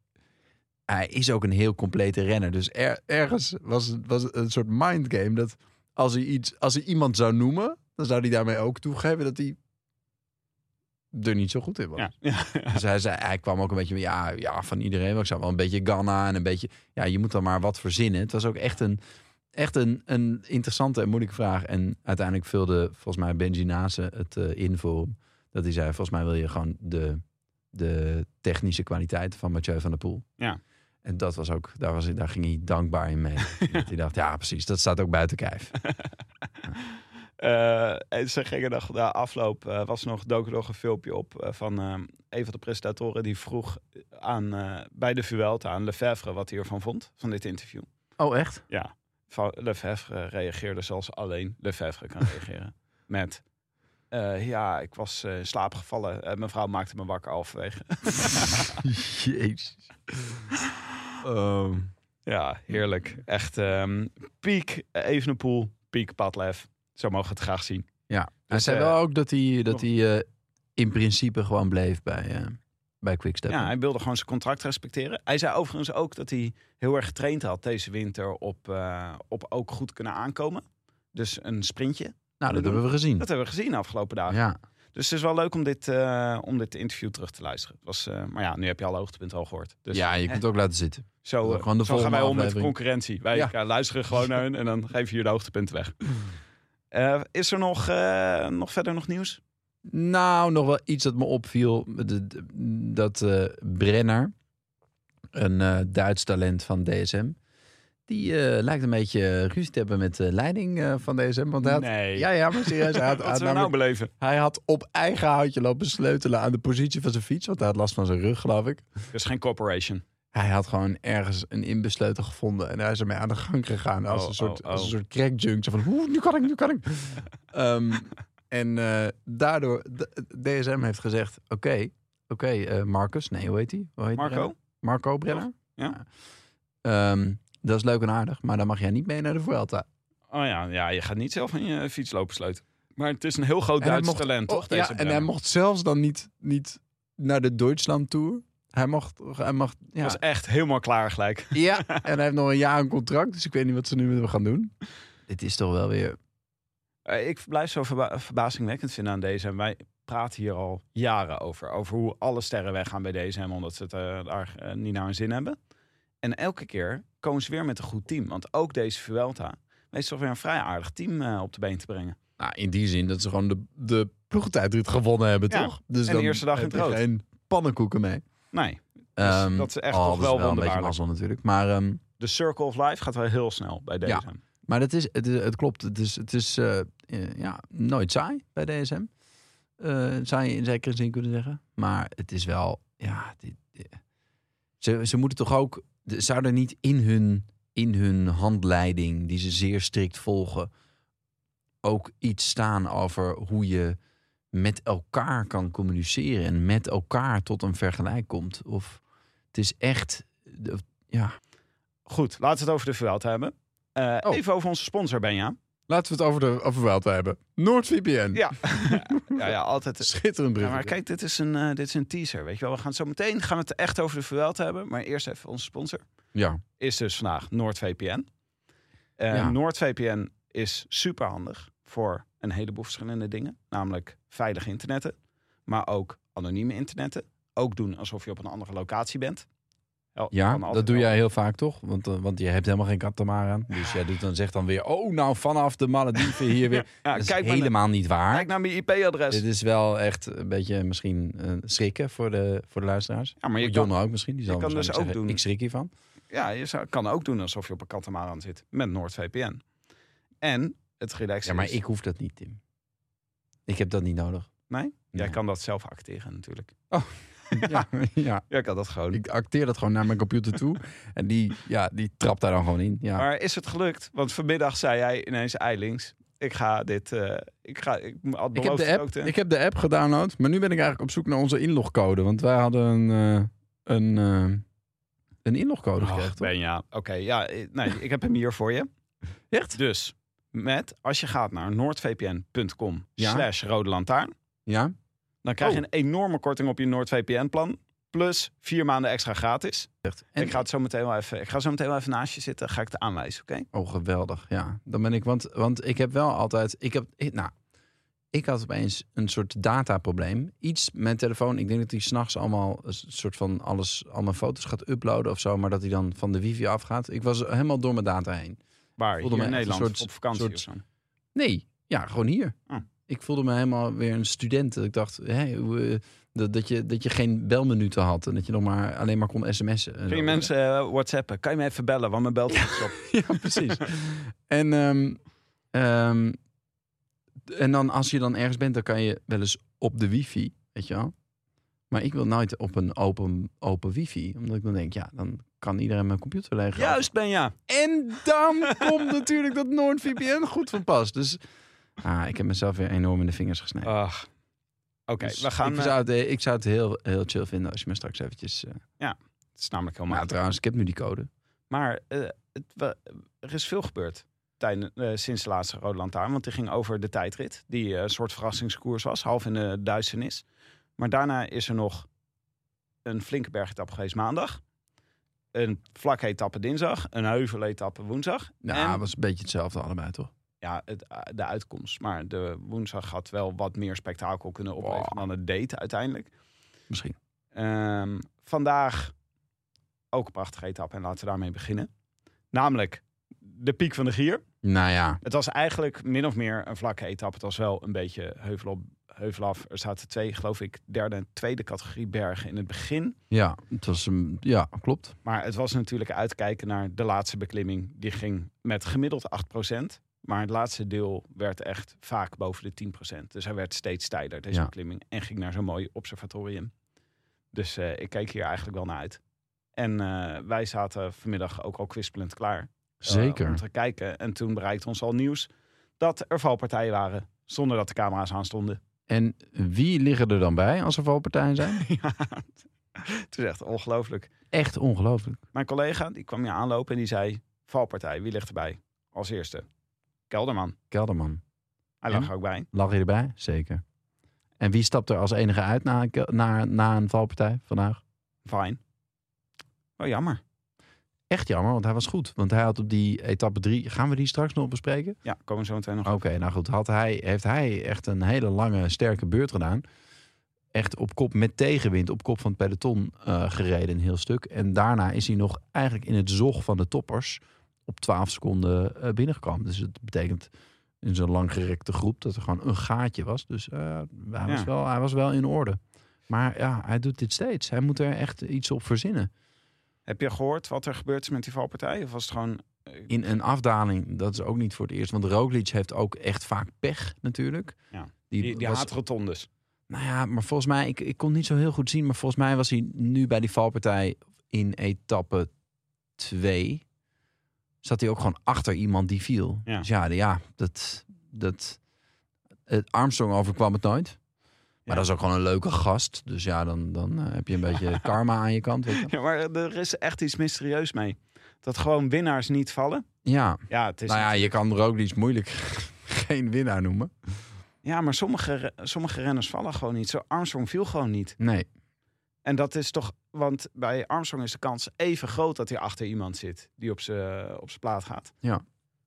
[SPEAKER 3] hij is ook een heel complete renner. Dus er- ergens was het, was het een soort mindgame dat als hij, iets, als hij iemand zou noemen, dan zou hij daarmee ook toegeven dat hij er niet zo goed in was.
[SPEAKER 4] Ja. Ja.
[SPEAKER 3] Dus hij, zei, hij kwam ook een beetje met, ja, ja, van iedereen. Maar ik zou wel een beetje Ghana en een beetje... Ja, je moet dan maar wat verzinnen. Het was ook echt een, echt een, een interessante en moeilijke vraag. En uiteindelijk vulde volgens mij Benji Nase het eh, in voor hem. Dat hij zei, volgens mij wil je gewoon de, de technische kwaliteit van Mathieu van der Poel.
[SPEAKER 4] Ja.
[SPEAKER 3] En dat was ook, daar, was, hij- daar ging hij dankbaar in mee. Dat hij dacht, ja precies, dat staat ook buiten kijf.
[SPEAKER 4] Eh, en ze gingen nog, na afloop eh, was nog, dook er nog een filmpje op eh, van eh, een van de presentatoren die vroeg aan, eh, bij de Vuelta aan Lefevre wat hij ervan vond, van dit interview.
[SPEAKER 3] Oh, echt?
[SPEAKER 4] Ja, Va- Lefevre reageerde zoals alleen Lefevre kan reageren. Met, eh, ja, ik was eh, in slaap gevallen. Eh, mijn vrouw maakte me wakker halverwege.
[SPEAKER 3] Jezus. Ehm,
[SPEAKER 4] ja, heerlijk. Echt ehm piek Evenepoel, piek Padlef. Zo mogen we het graag zien.
[SPEAKER 3] Ja, hij
[SPEAKER 4] Dus,
[SPEAKER 3] zei
[SPEAKER 4] eh,
[SPEAKER 3] wel ook dat hij, dat
[SPEAKER 4] nog-
[SPEAKER 3] hij eh, in principe gewoon bleef bij, eh bij Quickstep.
[SPEAKER 4] Ja, hij wilde gewoon zijn contract respecteren. Hij zei overigens ook dat hij heel erg getraind had deze winter op, eh, op ook goed kunnen aankomen. Dus een sprintje.
[SPEAKER 3] nou, dat hebben we gezien.
[SPEAKER 4] Dat hebben we gezien de afgelopen dagen.
[SPEAKER 3] Ja,
[SPEAKER 4] Dus het is wel leuk om dit, eh, om dit interview terug te luisteren. Het was, eh, maar ja, nu heb je alle hoogtepunten al gehoord. Dus
[SPEAKER 3] ja, je
[SPEAKER 4] hè,
[SPEAKER 3] kunt ook laten zitten.
[SPEAKER 4] zo, eh,
[SPEAKER 3] gewoon de
[SPEAKER 4] zo gaan wij om
[SPEAKER 3] volgende
[SPEAKER 4] met
[SPEAKER 3] aflevering.
[SPEAKER 4] concurrentie. Wij
[SPEAKER 3] Ja.
[SPEAKER 4] ja, luisteren gewoon naar hun en dan geven je de hoogtepunten weg. Eh, is er nog, eh, nog verder nog nieuws?
[SPEAKER 3] Nou, nog wel iets dat me opviel. De- de- dat eh, Brenner, een eh, Duits talent van DSM, die eh, lijkt een beetje ruzie te hebben met de leiding eh, van DSM. Want hij had,
[SPEAKER 4] Nee.
[SPEAKER 3] Ja, ja, maar serieus. Hij had, hij
[SPEAKER 4] Wat
[SPEAKER 3] had
[SPEAKER 4] zullen we nou
[SPEAKER 3] namelijk-
[SPEAKER 4] beleven?
[SPEAKER 3] hij had op eigen houtje lopen sleutelen aan de positie van zijn fiets. Want hij had last van zijn rug, geloof ik.
[SPEAKER 4] Dus geen corporation.
[SPEAKER 3] Hij had gewoon ergens een inbesleutel gevonden en hij is ermee aan de gang gegaan als
[SPEAKER 4] Oh,
[SPEAKER 3] een soort,
[SPEAKER 4] oh, oh.
[SPEAKER 3] als een soort crackjunk. Zo Van, "Oeh, nu kan ik, nu kan ik. Ehm, en eh, daardoor, d- DSM heeft gezegd, oké, oké, eh, Marcus, nee, hoe heet hij? Hoe heet die
[SPEAKER 4] Marco?
[SPEAKER 3] renner? Marco Brenner?
[SPEAKER 4] Ja.
[SPEAKER 3] Ehm, dat is leuk en aardig, maar dan mag jij niet mee naar de Vuelta.
[SPEAKER 4] Oh ja, ja, je gaat niet zelf aan je fiets lopen sleutelen. Maar het is een heel groot
[SPEAKER 3] En hij
[SPEAKER 4] Duits
[SPEAKER 3] mocht-
[SPEAKER 4] talent, toch?
[SPEAKER 3] Oh,
[SPEAKER 4] deze
[SPEAKER 3] ja, en hij
[SPEAKER 4] Brenner?
[SPEAKER 3] mocht zelfs dan niet, niet naar de Duitsland Tour. Hij mocht, hij mocht, ja.
[SPEAKER 4] was echt helemaal klaar gelijk.
[SPEAKER 3] Ja, en hij heeft nog een jaar een contract, dus ik weet niet wat ze nu met hem gaan doen. Dit is toch wel weer.
[SPEAKER 4] Eh, Ik blijf zo verba- verbazingwekkend vinden aan deze. En wij praten hier al jaren over. Over hoe alle sterren weggaan bij deze. Omdat ze het eh, daar eh, niet naar hun zin hebben. En elke keer komen ze weer met een goed team. Want ook deze Vuelta weet ze toch weer een vrij aardig team eh, op de been te brengen.
[SPEAKER 3] Nou, in die zin dat ze gewoon de, de ploegtijdrit gewonnen hebben,
[SPEAKER 4] Ja,
[SPEAKER 3] toch? Dus
[SPEAKER 4] en de eerste dag in
[SPEAKER 3] heb
[SPEAKER 4] het
[SPEAKER 3] je
[SPEAKER 4] rood.
[SPEAKER 3] Geen pannenkoeken mee.
[SPEAKER 4] Nee,
[SPEAKER 3] Ehm,
[SPEAKER 4] dat is echt
[SPEAKER 3] oh,
[SPEAKER 4] toch
[SPEAKER 3] dat
[SPEAKER 4] wel
[SPEAKER 3] een beetje
[SPEAKER 4] wonderbaarlijk.
[SPEAKER 3] mazzel natuurlijk. Maar, ehm,
[SPEAKER 4] de circle of life gaat wel heel snel bij deze.
[SPEAKER 3] Ja. maar het, is, het, is- het klopt. Het is, het is eh, eh, ja, nooit saai bij DSM. Eh zou je in zekere zin kunnen zeggen. Maar het is wel. Ja, dit, dit- ze, ze moeten toch ook. de- Zouden niet in hun, in hun handleiding, die ze zeer strikt volgen, ook iets staan over hoe je met elkaar kan communiceren en met elkaar tot een vergelijk komt? Of het is echt. de- Ja.
[SPEAKER 4] Goed, laten we het over de Vuelta hebben. Eh,
[SPEAKER 3] Oh.
[SPEAKER 4] Even over onze sponsor, Benja.
[SPEAKER 3] Laten we het over de overweld hebben. NoordVPN.
[SPEAKER 4] Ja, ja, ja altijd. eh,
[SPEAKER 3] Schitterend
[SPEAKER 4] Ja,
[SPEAKER 3] brug.
[SPEAKER 4] maar kijk, dit is, een, eh, dit is een teaser, weet je wel. We gaan het zo meteen gaan we het echt over de Vuelta hebben. Maar eerst even onze sponsor.
[SPEAKER 3] ja.
[SPEAKER 4] Is dus vandaag NoordVPN. Eh
[SPEAKER 3] Ja.
[SPEAKER 4] NoordVPN is superhandig voor een heleboel verschillende dingen. Namelijk veilig internetten, maar ook anonieme internetten. Ook doen alsof je op een andere locatie bent. Wel,
[SPEAKER 3] Ja,
[SPEAKER 4] kan altijd
[SPEAKER 3] dat doe
[SPEAKER 4] wel.
[SPEAKER 3] jij heel vaak toch? Want, eh, want je hebt helemaal geen katamara. aan. Dus jij doet dan, zegt dan weer, oh nou vanaf de Malediven hier weer.
[SPEAKER 4] Ja,
[SPEAKER 3] dat is
[SPEAKER 4] kijk, maar naar-
[SPEAKER 3] helemaal niet waar.
[SPEAKER 4] kijk naar mijn IP-adres.
[SPEAKER 3] Dit is wel echt een beetje misschien eh, schrikken voor de, voor de luisteraars.
[SPEAKER 4] Ja, maar je
[SPEAKER 3] John
[SPEAKER 4] kan,
[SPEAKER 3] ook misschien. Die zal
[SPEAKER 4] kan dus
[SPEAKER 3] waarschijnlijk
[SPEAKER 4] ook
[SPEAKER 3] zeggen,
[SPEAKER 4] doen.
[SPEAKER 3] Ik schrik hiervan.
[SPEAKER 4] ja, je zou- kan ook doen alsof je op een katamaran zit met NoordVPN. En het relaxen
[SPEAKER 3] Ja, maar
[SPEAKER 4] is-
[SPEAKER 3] ik hoef dat niet, Tim. Ik heb dat niet nodig.
[SPEAKER 4] Nee? Jij
[SPEAKER 3] Nee.
[SPEAKER 4] kan dat zelf acteren natuurlijk.
[SPEAKER 3] Ja, ja.
[SPEAKER 4] Jij kan dat gewoon.
[SPEAKER 3] Ik acteer dat gewoon naar mijn computer toe. En die, ja, die trapt daar dan gewoon in. Ja.
[SPEAKER 4] Maar is het gelukt? Want vanmiddag zei hij ineens eilings. Ik ga dit. eh, ik ga. Ik had
[SPEAKER 3] Ik heb,
[SPEAKER 4] beloofd
[SPEAKER 3] de app,
[SPEAKER 4] ook te-
[SPEAKER 3] ik heb de app gedownload, maar nu ben ik eigenlijk op zoek naar onze inlogcode. Want wij hadden een, eh, een, eh, een inlogcode gekregen.
[SPEAKER 4] Och,
[SPEAKER 3] toch?
[SPEAKER 4] Benja. Oké, ja, eh, nee, ik heb hem hier voor je.
[SPEAKER 3] Echt?
[SPEAKER 4] Dus met, als je gaat naar noordvpn.com
[SPEAKER 3] Ja.
[SPEAKER 4] slash rode lantaarn,
[SPEAKER 3] Ja.
[SPEAKER 4] dan krijg je
[SPEAKER 3] Oh.
[SPEAKER 4] een enorme korting op je NoordVPN-plan. Plus vier maanden extra gratis.
[SPEAKER 3] Echt.
[SPEAKER 4] En
[SPEAKER 3] En,
[SPEAKER 4] ik ga het zo meteen wel even, ik ga zo meteen wel even naast je zitten. Ga ik het aanwijzen, oké?
[SPEAKER 3] Oh, geweldig. Ja, dan ben ik. Want, want ik heb wel altijd. Ik heb. ik- nou, ik had opeens een soort dataprobleem. Iets met mijn telefoon. Ik denk dat hij s'nachts allemaal. Een soort van alles. Al mijn foto's gaat uploaden of zo. Maar dat hij dan van de wifi afgaat. Ik was helemaal door mijn data heen.
[SPEAKER 4] Waar?
[SPEAKER 3] Voelde
[SPEAKER 4] Hier
[SPEAKER 3] me
[SPEAKER 4] in
[SPEAKER 3] echt een
[SPEAKER 4] Nederland,
[SPEAKER 3] soort-
[SPEAKER 4] op vakantie
[SPEAKER 3] soort-
[SPEAKER 4] of zo.
[SPEAKER 3] Nee, ja, gewoon hier.
[SPEAKER 4] Ah.
[SPEAKER 3] Ik voelde me helemaal weer een student. Ik dacht, hé, hoe, eh, dat, dat, je, dat je geen belminuten had. En dat je nog maar, alleen maar kon sms'en. en
[SPEAKER 4] Kun
[SPEAKER 3] zo.
[SPEAKER 4] je mensen eh, whatsappen? Kan je me even bellen? Want mijn belt is op.
[SPEAKER 3] ja, precies. en, ehm, ehm, en dan als je dan ergens bent, dan kan je wel eens op de wifi, weet je wel. Maar ik wil nooit op een open, open wifi. Omdat ik dan denk, ja, dan kan iedereen mijn computer leeg.
[SPEAKER 4] Juist, Benja.
[SPEAKER 3] En dan komt natuurlijk dat NoordVPN goed van pas. Dus ah, ik heb mezelf weer enorm in de vingers gesneden.
[SPEAKER 4] Ach. Oké,
[SPEAKER 3] Dus
[SPEAKER 4] we gaan...
[SPEAKER 3] ik,
[SPEAKER 4] eh,
[SPEAKER 3] zou het, eh, ik zou het heel, heel chill vinden als je me straks eventjes... eh,
[SPEAKER 4] het is namelijk heel
[SPEAKER 3] maar
[SPEAKER 4] makkelijk.
[SPEAKER 3] trouwens, ik heb nu die code.
[SPEAKER 4] Maar eh, het, we- er is veel gebeurd tijden, eh, sinds de laatste Rode Lantaarn. Want die ging over de tijdrit, die eh, een soort verrassingskoers was, half in de duisternis. Maar daarna is er nog een flinke bergetap geweest maandag. Een vlakke etappe dinsdag, een heuveletappe woensdag.
[SPEAKER 3] Nou,
[SPEAKER 4] en,
[SPEAKER 3] het was een beetje hetzelfde allebei, toch?
[SPEAKER 4] ja, het, eh, de uitkomst. Maar de woensdag had wel wat meer spektakel kunnen opleveren dan het deed uiteindelijk.
[SPEAKER 3] Misschien.
[SPEAKER 4] Ehm, vandaag ook een prachtige etappe en laten we daarmee beginnen. Namelijk de piek van de Gier.
[SPEAKER 3] Nou ja,
[SPEAKER 4] Het was eigenlijk min of meer een vlakke etappe. Het was wel een beetje heuvel, op, heuvel af. Er zaten twee, geloof ik, derde en tweede categorie bergen in het begin.
[SPEAKER 3] ja, het was, een- ja klopt.
[SPEAKER 4] Maar het was natuurlijk uitkijken naar de laatste beklimming. Die ging met gemiddeld 8%. Maar het laatste deel werd echt vaak boven de 10%. Dus hij werd steeds steiler, deze
[SPEAKER 3] Ja.
[SPEAKER 4] beklimming. En ging naar zo'n mooi observatorium. Dus eh, ik keek hier eigenlijk wel naar uit. En eh, wij zaten vanmiddag ook al kwispelend klaar. eh,
[SPEAKER 3] Zeker.
[SPEAKER 4] om te kijken. En toen bereikte ons al nieuws dat er valpartijen waren. Zonder dat de camera's aan stonden.
[SPEAKER 3] En wie liggen er dan bij als er valpartijen zijn?
[SPEAKER 4] ja, het is echt ongelooflijk.
[SPEAKER 3] Echt ongelooflijk.
[SPEAKER 4] Mijn collega die kwam hier aanlopen en die zei: Valpartij, wie ligt erbij? Als eerste. Kelderman.
[SPEAKER 3] Kelderman,
[SPEAKER 4] Hij
[SPEAKER 3] En?
[SPEAKER 4] lag er ook bij.
[SPEAKER 3] lag je erbij? Zeker. En wie stapt er als enige uit na een, ke- na, na een valpartij vandaag?
[SPEAKER 4] Fijn. Oh, jammer.
[SPEAKER 3] Echt jammer, want hij was goed. Want hij had op die etappe drie... Gaan we die straks nog bespreken?
[SPEAKER 4] Ja, komen we zo meteen nog.
[SPEAKER 3] Oké, nou goed. Had hij, heeft hij echt een hele lange, sterke beurt gedaan. Echt op kop met tegenwind, op kop van het peloton eh, gereden een heel stuk. En daarna is hij nog eigenlijk in het zog van de toppers op 12 seconden eh, binnengekomen. Dus het betekent in zo'n langgerekte groep dat er gewoon een gaatje was. Dus eh, hij, was
[SPEAKER 4] Ja.
[SPEAKER 3] wel, hij was wel in orde. Maar ja, hij doet dit steeds. Hij moet er echt iets op verzinnen.
[SPEAKER 4] Heb je gehoord wat er gebeurd is met die valpartij? Of was het gewoon.
[SPEAKER 3] in een afdaling, dat is ook niet voor het eerst. Want Roglic heeft ook echt vaak pech natuurlijk.
[SPEAKER 4] Ja, Die, die
[SPEAKER 3] was-
[SPEAKER 4] haat rotondes.
[SPEAKER 3] Nou ja, maar volgens mij, ik, ik kon niet zo heel goed zien. Maar volgens mij was hij nu bij die valpartij in etappe 2. Zat hij ook gewoon achter iemand die viel.
[SPEAKER 4] Ja.
[SPEAKER 3] Dus ja, de- ja dat, dat, het Armstrong overkwam het nooit. Maar
[SPEAKER 4] Ja.
[SPEAKER 3] dat is ook gewoon een leuke gast. Dus ja, dan, dan eh, heb je een beetje karma aan je kant. weet je wel.
[SPEAKER 4] Ja, maar er is echt iets mysterieus mee. Dat gewoon winnaars niet vallen.
[SPEAKER 3] Ja,
[SPEAKER 4] Ja, het is
[SPEAKER 3] nou ja, je kan Roglic moeilijk geen winnaar noemen.
[SPEAKER 4] ja maar sommige, re- sommige renners vallen gewoon niet. Zo Armstrong viel gewoon niet.
[SPEAKER 3] Nee,
[SPEAKER 4] En dat is toch, want bij Armstrong is de kans even groot dat hij achter iemand zit die op zijn op zijn plaat gaat.
[SPEAKER 3] Ja.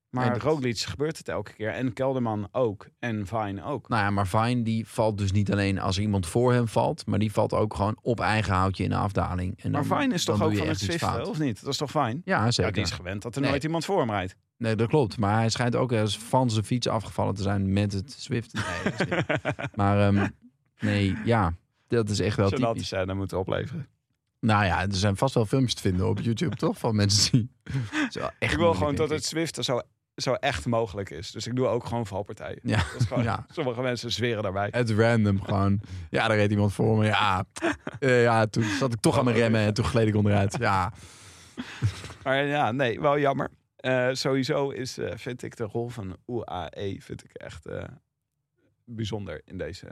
[SPEAKER 4] Maar
[SPEAKER 3] Nee, dat-
[SPEAKER 4] Roglic gebeurt het elke keer. En Kelderman ook. En Vine ook.
[SPEAKER 3] Nou ja, maar Vine die valt dus niet alleen als iemand voor hem valt, maar die valt ook gewoon op eigen houtje in de afdaling. En
[SPEAKER 4] maar
[SPEAKER 3] dan-
[SPEAKER 4] Vine is
[SPEAKER 3] dan
[SPEAKER 4] toch
[SPEAKER 3] doe
[SPEAKER 4] ook
[SPEAKER 3] je
[SPEAKER 4] van het
[SPEAKER 3] echt iets
[SPEAKER 4] zwiften,
[SPEAKER 3] fout.
[SPEAKER 4] of niet? Dat is toch Vine?
[SPEAKER 3] Ja,
[SPEAKER 4] Ja,
[SPEAKER 3] zeker.
[SPEAKER 4] die is gewend dat er
[SPEAKER 3] Nee.
[SPEAKER 4] nooit iemand voor hem rijdt.
[SPEAKER 3] Nee, dat klopt. Maar hij schijnt ook eens van zijn fiets afgevallen te zijn met het Zwift. Nee, dat is niet. maar ehm, nee, ja, dat is echt wel
[SPEAKER 4] Zodat
[SPEAKER 3] typisch.
[SPEAKER 4] ze dan moeten opleveren.
[SPEAKER 3] Nou ja, er zijn vast wel filmpjes te vinden op YouTube, toch? Van mensen die. Het is wel echt
[SPEAKER 4] ik wil
[SPEAKER 3] moeilijk,
[SPEAKER 4] gewoon dat
[SPEAKER 3] denk
[SPEAKER 4] het
[SPEAKER 3] ik.
[SPEAKER 4] zwiften zo, zo echt mogelijk is. Dus ik doe ook gewoon valpartijen.
[SPEAKER 3] Ja,
[SPEAKER 4] Dat is gewoon-
[SPEAKER 3] ja.
[SPEAKER 4] Sommige mensen zweren daarbij.
[SPEAKER 3] Het random gewoon. Ja, daar reed iemand voor me. Ja. Eh, ja, toen zat ik toch aan mijn remmen en toen gleed ik onderuit. Ja.
[SPEAKER 4] Maar ja, nee, wel jammer. Eh, sowieso is, eh, vind ik de rol van UAE vind ik echt eh, bijzonder in deze.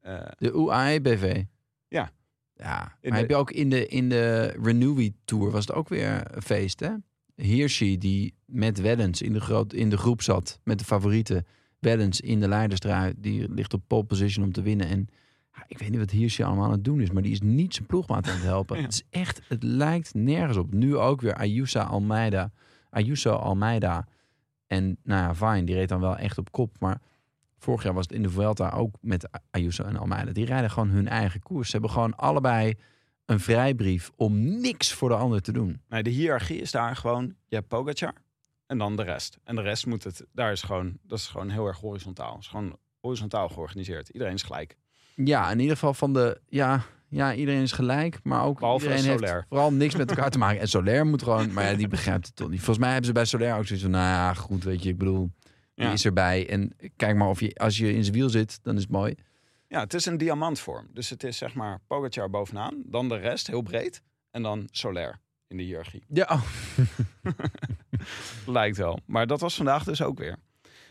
[SPEAKER 4] eh,
[SPEAKER 3] De UAE-BV.
[SPEAKER 4] Ja.
[SPEAKER 3] E Ja,
[SPEAKER 6] In
[SPEAKER 3] maar
[SPEAKER 6] de-
[SPEAKER 3] heb je ook in de, in de Renewy Tour was het ook weer een feest, hè? Hirschi, die met Wellens in de, groot, in de groep zat, met de favorieten. Wellens in de leiderstrui, die ligt op pole position om te winnen. En ja, ik weet niet wat Hirschi allemaal aan het doen is, maar die is niet zijn ploegmaat aan het helpen. Het is echt, het lijkt nergens op. Nu ook weer Ayusa Almeida. Ayuso Almeida. En nou ja, Vine, die reed dan wel echt op kop, maar... Vorig jaar was het in de Vuelta ook met Ayuso en Almeida. Die rijden gewoon hun eigen koers. Ze hebben gewoon allebei een vrijbrief om niks voor de ander te doen.
[SPEAKER 4] Nee, nou, de hiërarchie is daar gewoon. Je hebt Pogacar en dan de rest. En de rest moet het. Daar is gewoon. Dat is gewoon heel erg horizontaal. Het is gewoon horizontaal georganiseerd. Iedereen is gelijk.
[SPEAKER 3] Ja, in ieder geval van de... Ja, ja iedereen is gelijk, maar ook
[SPEAKER 4] Behalve
[SPEAKER 3] iedereen heeft
[SPEAKER 4] Soler.
[SPEAKER 3] vooral niks met elkaar te maken. En Soler moet gewoon... Maar ja, die begrijpt het toch niet. Volgens mij hebben ze bij Soler ook zoiets van... Nou ja, goed, weet je, ik bedoel... Die
[SPEAKER 4] Ja.
[SPEAKER 3] is erbij. En kijk maar, of je, als je in zijn wiel zit, dan is het mooi.
[SPEAKER 4] Ja, het is een diamantvorm. Dus het is zeg maar Pogacar bovenaan, dan de rest heel breed en dan Soler in de hiërarchie.
[SPEAKER 3] Ja, oh.
[SPEAKER 4] Lijkt wel. Maar dat was vandaag dus ook weer.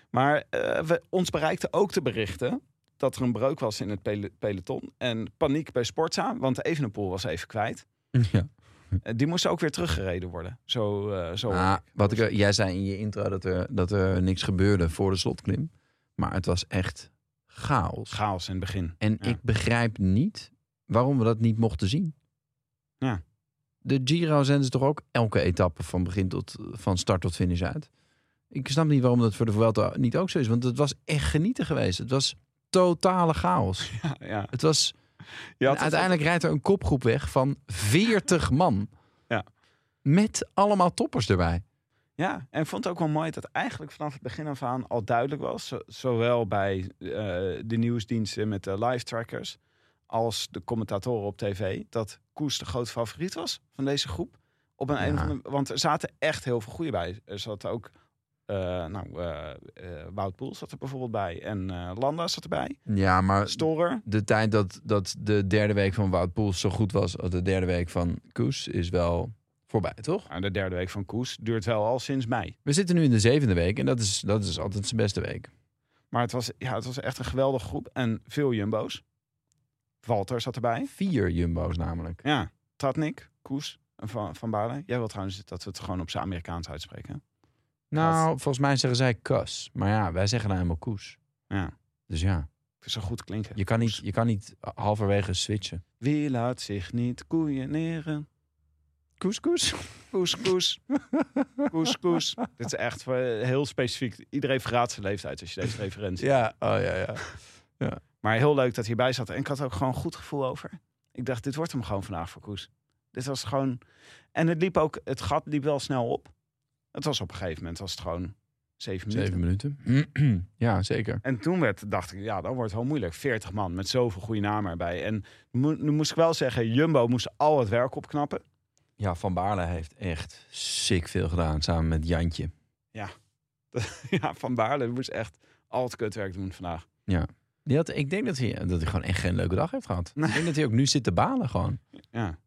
[SPEAKER 4] Maar eh, we, ons bereikten ook de berichten dat er een breuk was in het pele- peloton. En paniek bij Sportza, want de Evenepoel was even kwijt.
[SPEAKER 3] ja.
[SPEAKER 4] Eh, die moest ook weer teruggereden worden. Zo, eh, zo hoor
[SPEAKER 3] Hm. Ah, wat ik, jij zei in je intro dat er, dat er niks gebeurde voor de slotklim. Maar het was echt chaos.
[SPEAKER 4] chaos in het begin.
[SPEAKER 3] En
[SPEAKER 4] Ja.
[SPEAKER 3] ik begrijp niet waarom we dat niet mochten zien.
[SPEAKER 4] Ja.
[SPEAKER 3] De Giro zenden ze toch ook elke etappe van, begin tot, van start tot finish uit. Ik snap niet waarom dat voor de Vuelta niet ook zo is. Want het was echt genieten geweest. Het was totale chaos.
[SPEAKER 4] Ja, ja.
[SPEAKER 3] Het was,
[SPEAKER 4] Je had
[SPEAKER 3] en
[SPEAKER 4] het
[SPEAKER 3] uiteindelijk rijdt er een kopgroep weg van 40 man.
[SPEAKER 4] Ja.
[SPEAKER 3] Met allemaal toppers erbij.
[SPEAKER 4] Ja, en ik vond het ook wel mooi dat eigenlijk vanaf het begin af aan al duidelijk was, zo- zowel bij eh, de nieuwsdiensten met de live trackers als de commentatoren op tv, dat Koers de grote favoriet was van deze groep. Op een,
[SPEAKER 3] Ja.
[SPEAKER 4] een of andere, want er zaten echt heel veel goede bij. Er zat ook, eh, nou, eh, eh, Wout Poel zat er bijvoorbeeld bij en eh, Landa zat erbij.
[SPEAKER 3] Ja, maar
[SPEAKER 4] Storer,
[SPEAKER 3] de tijd dat, dat de derde week van Wout Poels zo goed was als de derde week van Koes is wel voorbij, toch?
[SPEAKER 4] nou, de derde week van Koers, duurt wel al sinds mei.
[SPEAKER 3] We zitten nu in de zevende week en dat is, dat is altijd zijn beste week.
[SPEAKER 4] Maar het was, ja, het was echt een geweldige groep en veel jumbo's. Walter zat erbij.
[SPEAKER 3] Vier jumbo's namelijk.
[SPEAKER 4] Ja, Tratnik, Koes en Van, van Baarle. Jij wil trouwens dat we het gewoon op zijn Amerikaans uitspreken. hè?
[SPEAKER 3] Nou, volgens mij zeggen zij Kus. Maar ja, wij zeggen nou helemaal Koes.
[SPEAKER 4] Ja,
[SPEAKER 3] Dus ja,
[SPEAKER 4] het is zo goed klinken.
[SPEAKER 3] je kan niet, je kan niet halverwege switchen.
[SPEAKER 4] Wie laat zich niet koeieneren?
[SPEAKER 3] Koes, Koes.
[SPEAKER 4] Koes, koes. Koes, koes. Dit is echt voor- heel specifiek. Iedereen verraadt zijn leeftijd als je deze referentie...
[SPEAKER 3] Ja, oh ja, ja.
[SPEAKER 4] Maar heel leuk dat hij erbij zat. En ik had er ook gewoon een goed gevoel over. Ik dacht, dit wordt hem gewoon vandaag voor Koes. Dit was gewoon... En het liep ook... Het gat liep wel snel op. Het was op een gegeven moment was het gewoon zeven minuten.
[SPEAKER 3] Zeven minuten. ja, zeker.
[SPEAKER 4] En toen werd, dacht ik, ja, dat wordt heel moeilijk. 40 man met zoveel goede namen erbij. En mo- nu moest ik wel zeggen, Jumbo moest al het werk opknappen.
[SPEAKER 3] Ja, Van Baarle heeft echt sick veel gedaan samen met Jantje.
[SPEAKER 4] ja, Van Baarle moest echt al het kutwerk doen vandaag.
[SPEAKER 3] Die had, ik denk dat hij, dat hij gewoon echt geen leuke dag heeft gehad.
[SPEAKER 4] Nee.
[SPEAKER 3] Ik denk dat hij ook nu zit te balen gewoon.
[SPEAKER 4] Ja,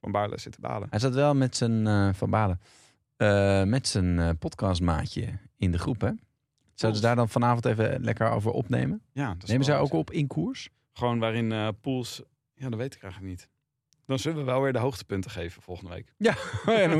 [SPEAKER 4] Van Baarle zit te balen.
[SPEAKER 3] Hij zat wel met zijn, eh, van balen, eh, met zijn eh, podcastmaatje in de groep hè. Zouden ze daar dan vanavond even lekker over opnemen?
[SPEAKER 4] Ja, dat is
[SPEAKER 3] Nemen
[SPEAKER 4] wel
[SPEAKER 3] zij ook
[SPEAKER 4] leuk.
[SPEAKER 3] op in koers?
[SPEAKER 4] Gewoon waarin eh pools... Ja, dat weet ik eigenlijk niet. Dan zullen we wel weer de hoogtepunten geven volgende week.
[SPEAKER 3] ja, dan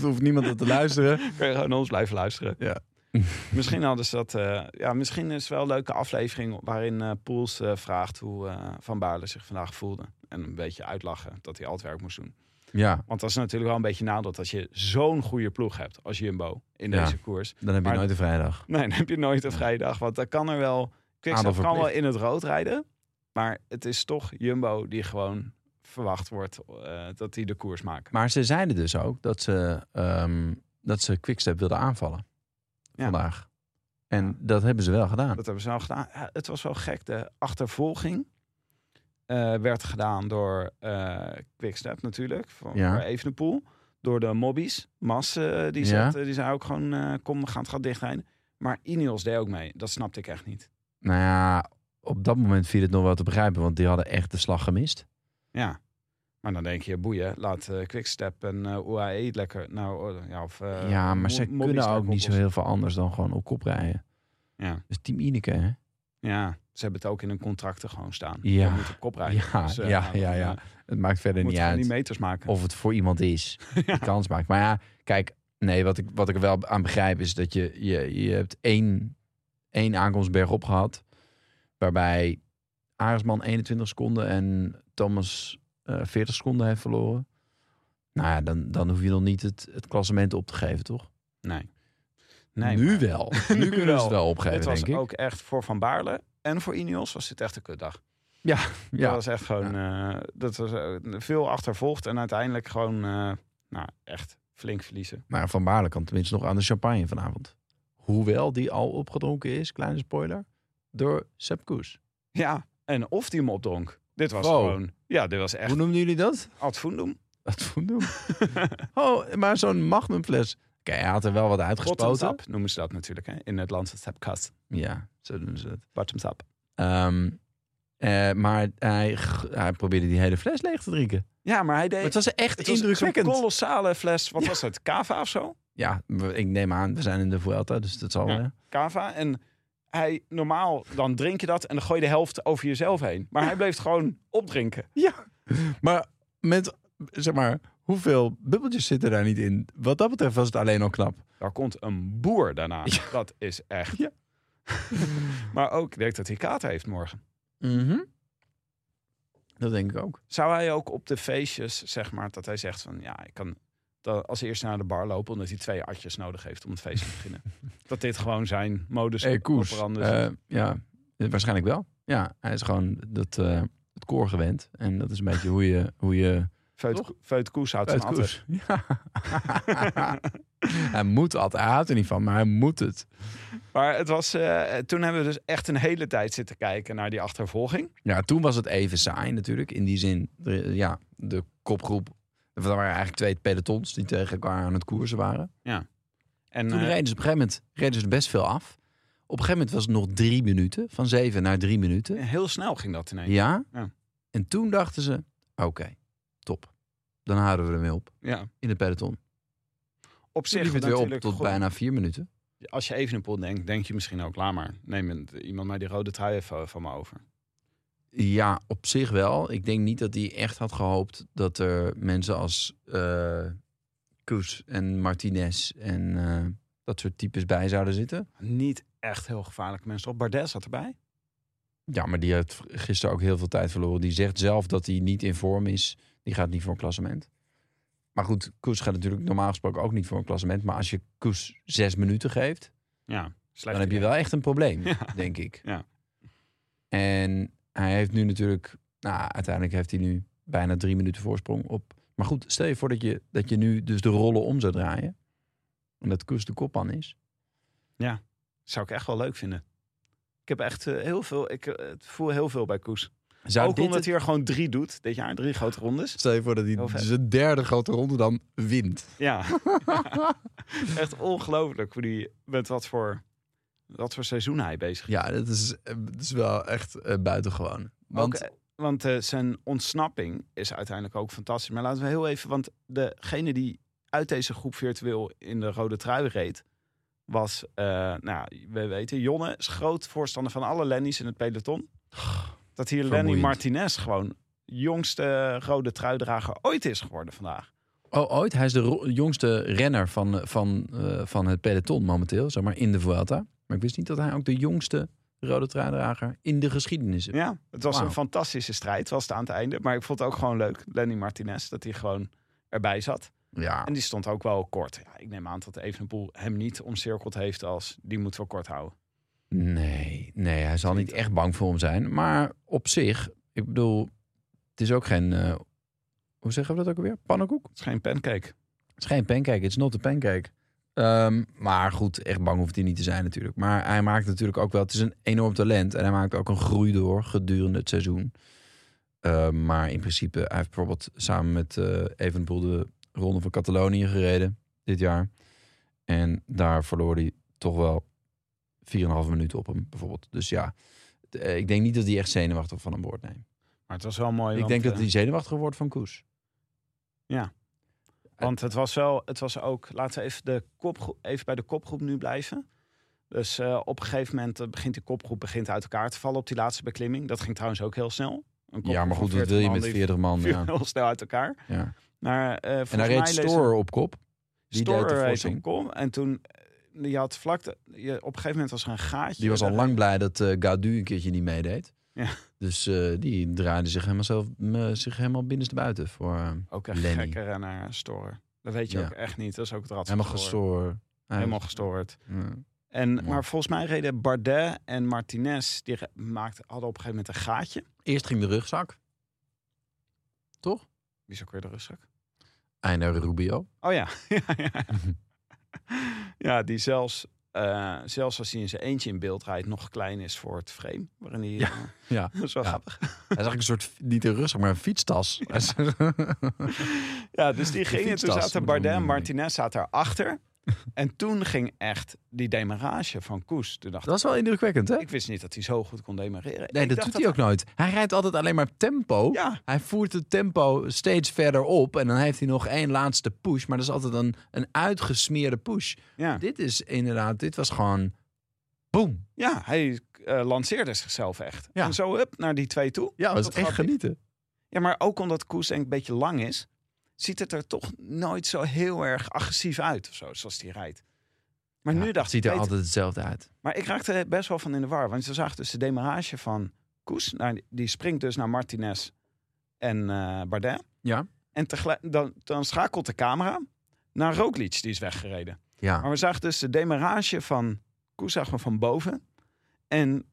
[SPEAKER 3] hoeft, niemand dat te luisteren.
[SPEAKER 4] Kun je gewoon naar ons blijven luisteren.
[SPEAKER 3] Ja.
[SPEAKER 4] misschien hadden ze dat... eh, ja, misschien is het wel een leuke aflevering waarin eh Poels eh, vraagt hoe eh, Van Baarle zich vandaag voelde. En een beetje uitlachen dat hij al het werk moest doen.
[SPEAKER 3] Ja,
[SPEAKER 4] Want dat is natuurlijk wel een beetje nadeel dat je zo'n goede ploeg hebt als Jumbo in
[SPEAKER 3] Ja.
[SPEAKER 4] deze koers.
[SPEAKER 3] dan heb je
[SPEAKER 4] Maar-
[SPEAKER 3] nooit een vrijdag.
[SPEAKER 4] Nee, dan heb je nooit een vrijdag. Want dan kan er wel. Quickstep kan wel
[SPEAKER 3] verplicht.
[SPEAKER 4] in het rood rijden. Maar het is toch Jumbo die gewoon verwacht wordt eh, dat die de koers maken.
[SPEAKER 3] Maar ze zeiden dus ook dat ze, ehm, dat ze Quickstep wilden aanvallen
[SPEAKER 4] Ja.
[SPEAKER 3] vandaag. En dat hebben ze wel gedaan.
[SPEAKER 4] Dat hebben ze wel gedaan. Ja, het was wel gek. De achtervolging eh, werd gedaan door eh Quickstep natuurlijk. Van,
[SPEAKER 3] Ja.
[SPEAKER 4] Voor Evenepoel. Door de mobbies. Mas, eh, die,
[SPEAKER 3] Ja.
[SPEAKER 4] zat, eh, die zei ook gewoon, eh, kom, we gaan het gat dichtrijden. Maar Ineos deed ook mee. Dat snapte ik echt niet.
[SPEAKER 3] Nou ja, op dat moment viel het nog wel te begrijpen, want die hadden echt de slag gemist.
[SPEAKER 4] Ja. Maar dan denk je, boeien, laat eh, Quickstep en eh UAE het lekker... Nou, eh, ja, of, eh,
[SPEAKER 3] ja, maar
[SPEAKER 4] mo-
[SPEAKER 3] ze
[SPEAKER 4] mobbies
[SPEAKER 3] kunnen ook
[SPEAKER 4] lekker
[SPEAKER 3] niet zo
[SPEAKER 4] oplossen.
[SPEAKER 3] heel veel anders dan gewoon op kop rijden.
[SPEAKER 4] Ja.
[SPEAKER 3] Dus Team Ineke, hè?
[SPEAKER 4] Ja, ze hebben het ook in hun contracten gewoon staan.
[SPEAKER 3] Ja.
[SPEAKER 4] Je moet op kop rijden.
[SPEAKER 3] Ja,
[SPEAKER 4] Dus, eh,
[SPEAKER 3] ja,
[SPEAKER 4] nou,
[SPEAKER 3] ja,
[SPEAKER 4] dan,
[SPEAKER 3] ja.
[SPEAKER 4] eh,
[SPEAKER 3] Het maakt verder
[SPEAKER 4] Moeten
[SPEAKER 3] niet
[SPEAKER 4] ze gewoon
[SPEAKER 3] uit
[SPEAKER 4] die meters maken.
[SPEAKER 3] of het voor iemand is. Die kans maakt. Maar ja, kijk, nee, wat ik, wat ik er wel aan begrijp is dat je, je, je hebt één, één aankomst bergop gehad. Waarbij Aresman 21 seconden en Thomas eh, 40 seconden heeft verloren. Nou ja, dan, dan hoef je nog niet het, het klassement op te geven, toch?
[SPEAKER 4] Nee. Nee,
[SPEAKER 3] nu wel. Nu kunnen ze het wel opgeven,
[SPEAKER 4] Dit was
[SPEAKER 3] denk ik.
[SPEAKER 4] ook echt voor Van Baarle en voor Ineos was dit echt een kutdag. Dat
[SPEAKER 3] ja.
[SPEAKER 4] was echt gewoon eh, dat was, eh, veel achtervolgd en uiteindelijk gewoon eh, nou, echt flink verliezen.
[SPEAKER 3] Maar Van Baarle kan tenminste nog aan de champagne vanavond. Hoewel die al opgedronken is, kleine spoiler, door Sepp Koes.
[SPEAKER 4] Ja, en of die hem opdronk. Dit was
[SPEAKER 3] Wow.
[SPEAKER 4] gewoon, ja, dit was echt
[SPEAKER 3] Hoe noemden jullie dat?
[SPEAKER 4] ad fundum.
[SPEAKER 3] Wat voor doen? oh, maar zo'n magnumfles. Kijk, hij had er wel wat
[SPEAKER 4] Bottoms
[SPEAKER 3] uitgespoten.
[SPEAKER 4] up noemen ze dat natuurlijk hè? in het landse tapkast.
[SPEAKER 3] Ja, zo doen ze het.
[SPEAKER 4] Bottoms up.
[SPEAKER 3] Ehm, eh, maar hij, g- hij probeerde die hele fles leeg te drinken.
[SPEAKER 4] Ja, maar
[SPEAKER 3] Maar
[SPEAKER 4] hij deed...
[SPEAKER 3] het was echt
[SPEAKER 4] het was
[SPEAKER 3] indrukwekkend.
[SPEAKER 4] Zo'n kolossale fles, wat was het, cava of zo?
[SPEAKER 3] ja, we- ik neem aan, we zijn in de Vuelta, dus dat zal
[SPEAKER 4] Ja.
[SPEAKER 3] wel.
[SPEAKER 4] Cava. En hij, normaal, dan drink je dat en dan gooi je de helft over jezelf heen. Maar hij bleef het gewoon opdrinken.
[SPEAKER 3] Ja. Maar met, zeg maar, hoeveel bubbeltjes zitten daar niet in? Wat dat betreft was het alleen al knap.
[SPEAKER 4] Daar komt een boer daarna. Dat is echt.
[SPEAKER 3] Ja.
[SPEAKER 4] maar ook, ik denk dat hij kater heeft morgen.
[SPEAKER 3] Mhm. Dat denk ik ook.
[SPEAKER 4] Zou hij ook op de feestjes, zeg maar, dat hij zegt van... Ja, ik kan dan als eerste naar de bar lopen, omdat hij twee atjes nodig heeft om het feest te beginnen. dat dit gewoon zijn modus
[SPEAKER 3] Hey, Koes.
[SPEAKER 4] operandi is.
[SPEAKER 3] eh, ja, eh, waarschijnlijk wel. Ja, hij is gewoon dat, eh, het koor gewend. En dat is een beetje hoe je... Hoe je
[SPEAKER 4] Veut,
[SPEAKER 3] toch?
[SPEAKER 4] Veut Koes houdt
[SPEAKER 3] uit
[SPEAKER 4] van atten.
[SPEAKER 3] koers. Ja. hij moet altijd. Hij houdt er niet van, maar hij moet het.
[SPEAKER 4] Maar het was, eh, toen hebben we dus echt een hele tijd zitten kijken naar die achtervolging.
[SPEAKER 3] Ja, toen was het even saai natuurlijk. In die zin, er- ja, de kopgroep... Er waren eigenlijk twee pelotons die tegen elkaar aan het koersen waren.
[SPEAKER 4] En,
[SPEAKER 3] Toen
[SPEAKER 4] eh,
[SPEAKER 3] reden ze op een gegeven moment reden ze er best veel af. Op een gegeven moment was het nog drie minuten. Van zeven naar drie minuten.
[SPEAKER 4] Heel snel ging dat ineens.
[SPEAKER 3] Ja.
[SPEAKER 4] Ja.
[SPEAKER 3] En toen dachten ze, oké, top. Dan houden we ermee op.
[SPEAKER 4] Ja.
[SPEAKER 3] In het peloton.
[SPEAKER 4] Op
[SPEAKER 3] Toen
[SPEAKER 4] zich
[SPEAKER 3] liep het weer op
[SPEAKER 4] natuurlijk
[SPEAKER 3] tot
[SPEAKER 4] goed.
[SPEAKER 3] bijna vier minuten.
[SPEAKER 4] Als je even een pot denkt, denk je misschien ook, laat maar. Neem een- iemand mij die rode trui even van me over.
[SPEAKER 3] Ja, op zich wel. Ik denk niet dat hij echt had gehoopt dat er mensen als eh Koes en Martinez en eh, dat soort types bij zouden zitten.
[SPEAKER 4] Niet echt heel gevaarlijke mensen. Op Bardet zat erbij.
[SPEAKER 3] Ja, maar die heeft gisteren ook heel veel tijd verloren. Die zegt zelf dat hij niet in vorm is. Die gaat niet voor een klassement. Maar goed, Koes gaat natuurlijk normaal gesproken ook niet voor een klassement. Maar als je Koes zes minuten geeft,
[SPEAKER 4] Ja,
[SPEAKER 3] dan
[SPEAKER 4] slecht
[SPEAKER 3] heb je
[SPEAKER 4] idee.
[SPEAKER 3] wel echt een probleem,
[SPEAKER 4] Ja.
[SPEAKER 3] denk ik.
[SPEAKER 4] Ja.
[SPEAKER 3] En hij heeft nu natuurlijk, nou, uiteindelijk heeft hij nu bijna drie minuten voorsprong op. Maar goed, stel je voor dat je, dat je nu dus de rollen om zou draaien. En dat Koes de kopman is.
[SPEAKER 4] Zou ik echt wel leuk vinden. Ik heb echt eh, heel veel, ik eh, voel heel veel bij Koes.
[SPEAKER 3] Zou
[SPEAKER 4] ook
[SPEAKER 3] dit
[SPEAKER 4] omdat
[SPEAKER 3] het-
[SPEAKER 4] hij er gewoon drie doet dit jaar, drie grote rondes.
[SPEAKER 3] Stel je voor dat
[SPEAKER 4] Heel
[SPEAKER 3] hij
[SPEAKER 4] vet.
[SPEAKER 3] zijn derde grote ronde dan wint.
[SPEAKER 4] Ja, echt ongelooflijk hoe die, met wat voor, wat voor seizoen hij bezig is.
[SPEAKER 3] Ja, dat is, eh, dat is wel echt eh, buitengewoon. Want
[SPEAKER 4] Want, want eh, zijn ontsnapping is uiteindelijk ook fantastisch. Maar laten we heel even, want degene die uit deze groep virtueel in de rode trui reed, was, eh, nou, ja, we weten, Jonne is groot voorstander van alle Lennies in het peloton. Dat hier Lenny
[SPEAKER 3] Vermoeiend.
[SPEAKER 4] Martinez gewoon jongste rode truidrager ooit is geworden vandaag.
[SPEAKER 3] oh, ooit, hij is de ro- jongste renner van, eh, van, eh, van het peloton momenteel, zeg maar, in de Vuelta. Maar ik wist niet dat hij ook de jongste rode truidrager in de geschiedenis is.
[SPEAKER 4] Ja, het was
[SPEAKER 3] Wauw.
[SPEAKER 4] een fantastische strijd, was het aan het einde. Maar ik vond het ook gewoon leuk, Lenny Martinez, dat hij gewoon erbij zat.
[SPEAKER 3] Ja,
[SPEAKER 4] En die stond ook wel kort. Ja, ik neem aan dat Evenepoel hem niet omcirkeld heeft als... die moet wel kort houden.
[SPEAKER 3] nee, nee, hij zal niet echt bang voor hem zijn. Maar op zich, ik bedoel, het is ook geen, eh, hoe zeggen we dat ook alweer? Pannenkoek?
[SPEAKER 4] Het is geen pancake.
[SPEAKER 3] Het is geen pancake, het is not a pancake. Ehm, maar goed, echt bang hoeft hij niet te zijn natuurlijk. Maar hij maakt natuurlijk ook wel... Het is een enorm talent en hij maakt ook een groei door gedurende het seizoen. Ehm, maar in principe, hij heeft bijvoorbeeld samen met eh Evenpoel de Ronde van Catalonië gereden dit jaar. En daar verloor hij toch wel 4,5 minuten op hem bijvoorbeeld. Dus ja, d- eh, ik denk niet dat hij echt zenuwachtig van hem wordt, nee.
[SPEAKER 4] Maar het was wel mooi.
[SPEAKER 3] Ik
[SPEAKER 4] want,
[SPEAKER 3] denk dat
[SPEAKER 4] eh,
[SPEAKER 3] hij zenuwachtig wordt van Koes.
[SPEAKER 4] Want het was wel... Het was ook... Laten we even, de kopgroep, even bij de kopgroep nu blijven. Dus eh, op een gegeven moment eh, begint die kopgroep begint uit elkaar te vallen op die laatste beklimming. Dat ging trouwens ook heel snel. Een kopgroep
[SPEAKER 3] Ja, maar
[SPEAKER 4] van
[SPEAKER 3] goed, wat wil je
[SPEAKER 4] man,
[SPEAKER 3] met
[SPEAKER 4] die
[SPEAKER 3] 40 man?
[SPEAKER 4] viel
[SPEAKER 3] Ja.
[SPEAKER 4] heel snel uit elkaar.
[SPEAKER 3] Ja.
[SPEAKER 4] Maar, eh volgens
[SPEAKER 3] En daar
[SPEAKER 4] mij
[SPEAKER 3] reed
[SPEAKER 4] lezen-
[SPEAKER 3] Store op kop. Die deed de
[SPEAKER 4] Storer heet
[SPEAKER 3] forcing.
[SPEAKER 4] op kom. En toen, eh, je had vlakte, je, op een gegeven moment was er een gaatje.
[SPEAKER 3] Die was al lang blij dat eh Gaudu een keertje niet meedeed.
[SPEAKER 4] Ja.
[SPEAKER 3] Dus eh, die draaide zich helemaal, zelf, me- zich helemaal binnenstebuiten voor eh,
[SPEAKER 4] Ook echt
[SPEAKER 3] Lenny.
[SPEAKER 4] gekke renner, Storer. Dat weet je
[SPEAKER 3] Ja.
[SPEAKER 4] ook echt niet. Dat is ook het rad van
[SPEAKER 3] helemaal
[SPEAKER 4] Storer.
[SPEAKER 3] gestoord.
[SPEAKER 4] Helemaal gestoord.
[SPEAKER 3] Ja.
[SPEAKER 4] En,
[SPEAKER 3] Mooi.
[SPEAKER 4] maar volgens mij reden Bardet en Martinez, die re- maakten, hadden op een gegeven moment een gaatje.
[SPEAKER 3] Eerst ging de rugzak. Toch?
[SPEAKER 4] Wie is ook weer de rustig?
[SPEAKER 3] Einde Rubio.
[SPEAKER 4] Oh ja. ja, ja.
[SPEAKER 3] Mhm.
[SPEAKER 4] ja, die zelfs, eh, zelfs als hij in zijn eentje in beeld rijdt, nog klein is voor het frame. Waarin hij,
[SPEAKER 3] Ja.
[SPEAKER 4] eh,
[SPEAKER 3] Ja.
[SPEAKER 4] dat is wel
[SPEAKER 3] Ja.
[SPEAKER 4] grappig.
[SPEAKER 3] Hij is eigenlijk een soort, niet een rugzak, maar een fietstas.
[SPEAKER 4] Ja, dus die
[SPEAKER 3] De
[SPEAKER 4] gingen, toen
[SPEAKER 3] fietstas,
[SPEAKER 4] zaten
[SPEAKER 3] moet ik
[SPEAKER 4] Bardet en
[SPEAKER 3] noemen.
[SPEAKER 4] Martinez zaten daarachter. En toen ging echt die demarage van Koes. Toen dacht
[SPEAKER 3] dat is wel indrukwekkend, hè?
[SPEAKER 4] ik, ik wist niet dat hij zo goed kon demareren.
[SPEAKER 3] Nee,
[SPEAKER 4] Ik
[SPEAKER 3] dat
[SPEAKER 4] dacht
[SPEAKER 3] doet hij ook nooit. Hij rijdt altijd alleen maar tempo.
[SPEAKER 4] Ja,
[SPEAKER 3] Hij voert het tempo steeds verder op. En dan heeft hij nog één laatste push. Maar dat is altijd een, een uitgesmeerde push.
[SPEAKER 4] ja.
[SPEAKER 3] Dit is inderdaad, dit was gewoon... Boom.
[SPEAKER 4] ja hij eh, lanceerde zichzelf echt.
[SPEAKER 3] Ja.
[SPEAKER 4] En zo up naar die twee toe.
[SPEAKER 3] Ja, dat was
[SPEAKER 4] Dat
[SPEAKER 3] echt
[SPEAKER 4] had ik.
[SPEAKER 3] genieten.
[SPEAKER 4] Ja, maar ook omdat Koes denk ik een beetje lang is, ziet het er toch nooit zo heel erg agressief uit of zo, zoals die rijdt. Maar nu dacht
[SPEAKER 3] ziet
[SPEAKER 4] ik,
[SPEAKER 3] er
[SPEAKER 4] weet-
[SPEAKER 3] altijd hetzelfde uit.
[SPEAKER 4] maar ik raakte er best wel van in de war, want ze zag dus de demarage van Koes, nou, die- die springt dus naar Martinez en eh, Bardet.
[SPEAKER 3] Ja.
[SPEAKER 4] En tegelijk, dan, dan schakelt de camera naar Roglic, die is weggereden.
[SPEAKER 3] Ja.
[SPEAKER 4] Maar we zagen dus de demarage van Koes zag maar van boven en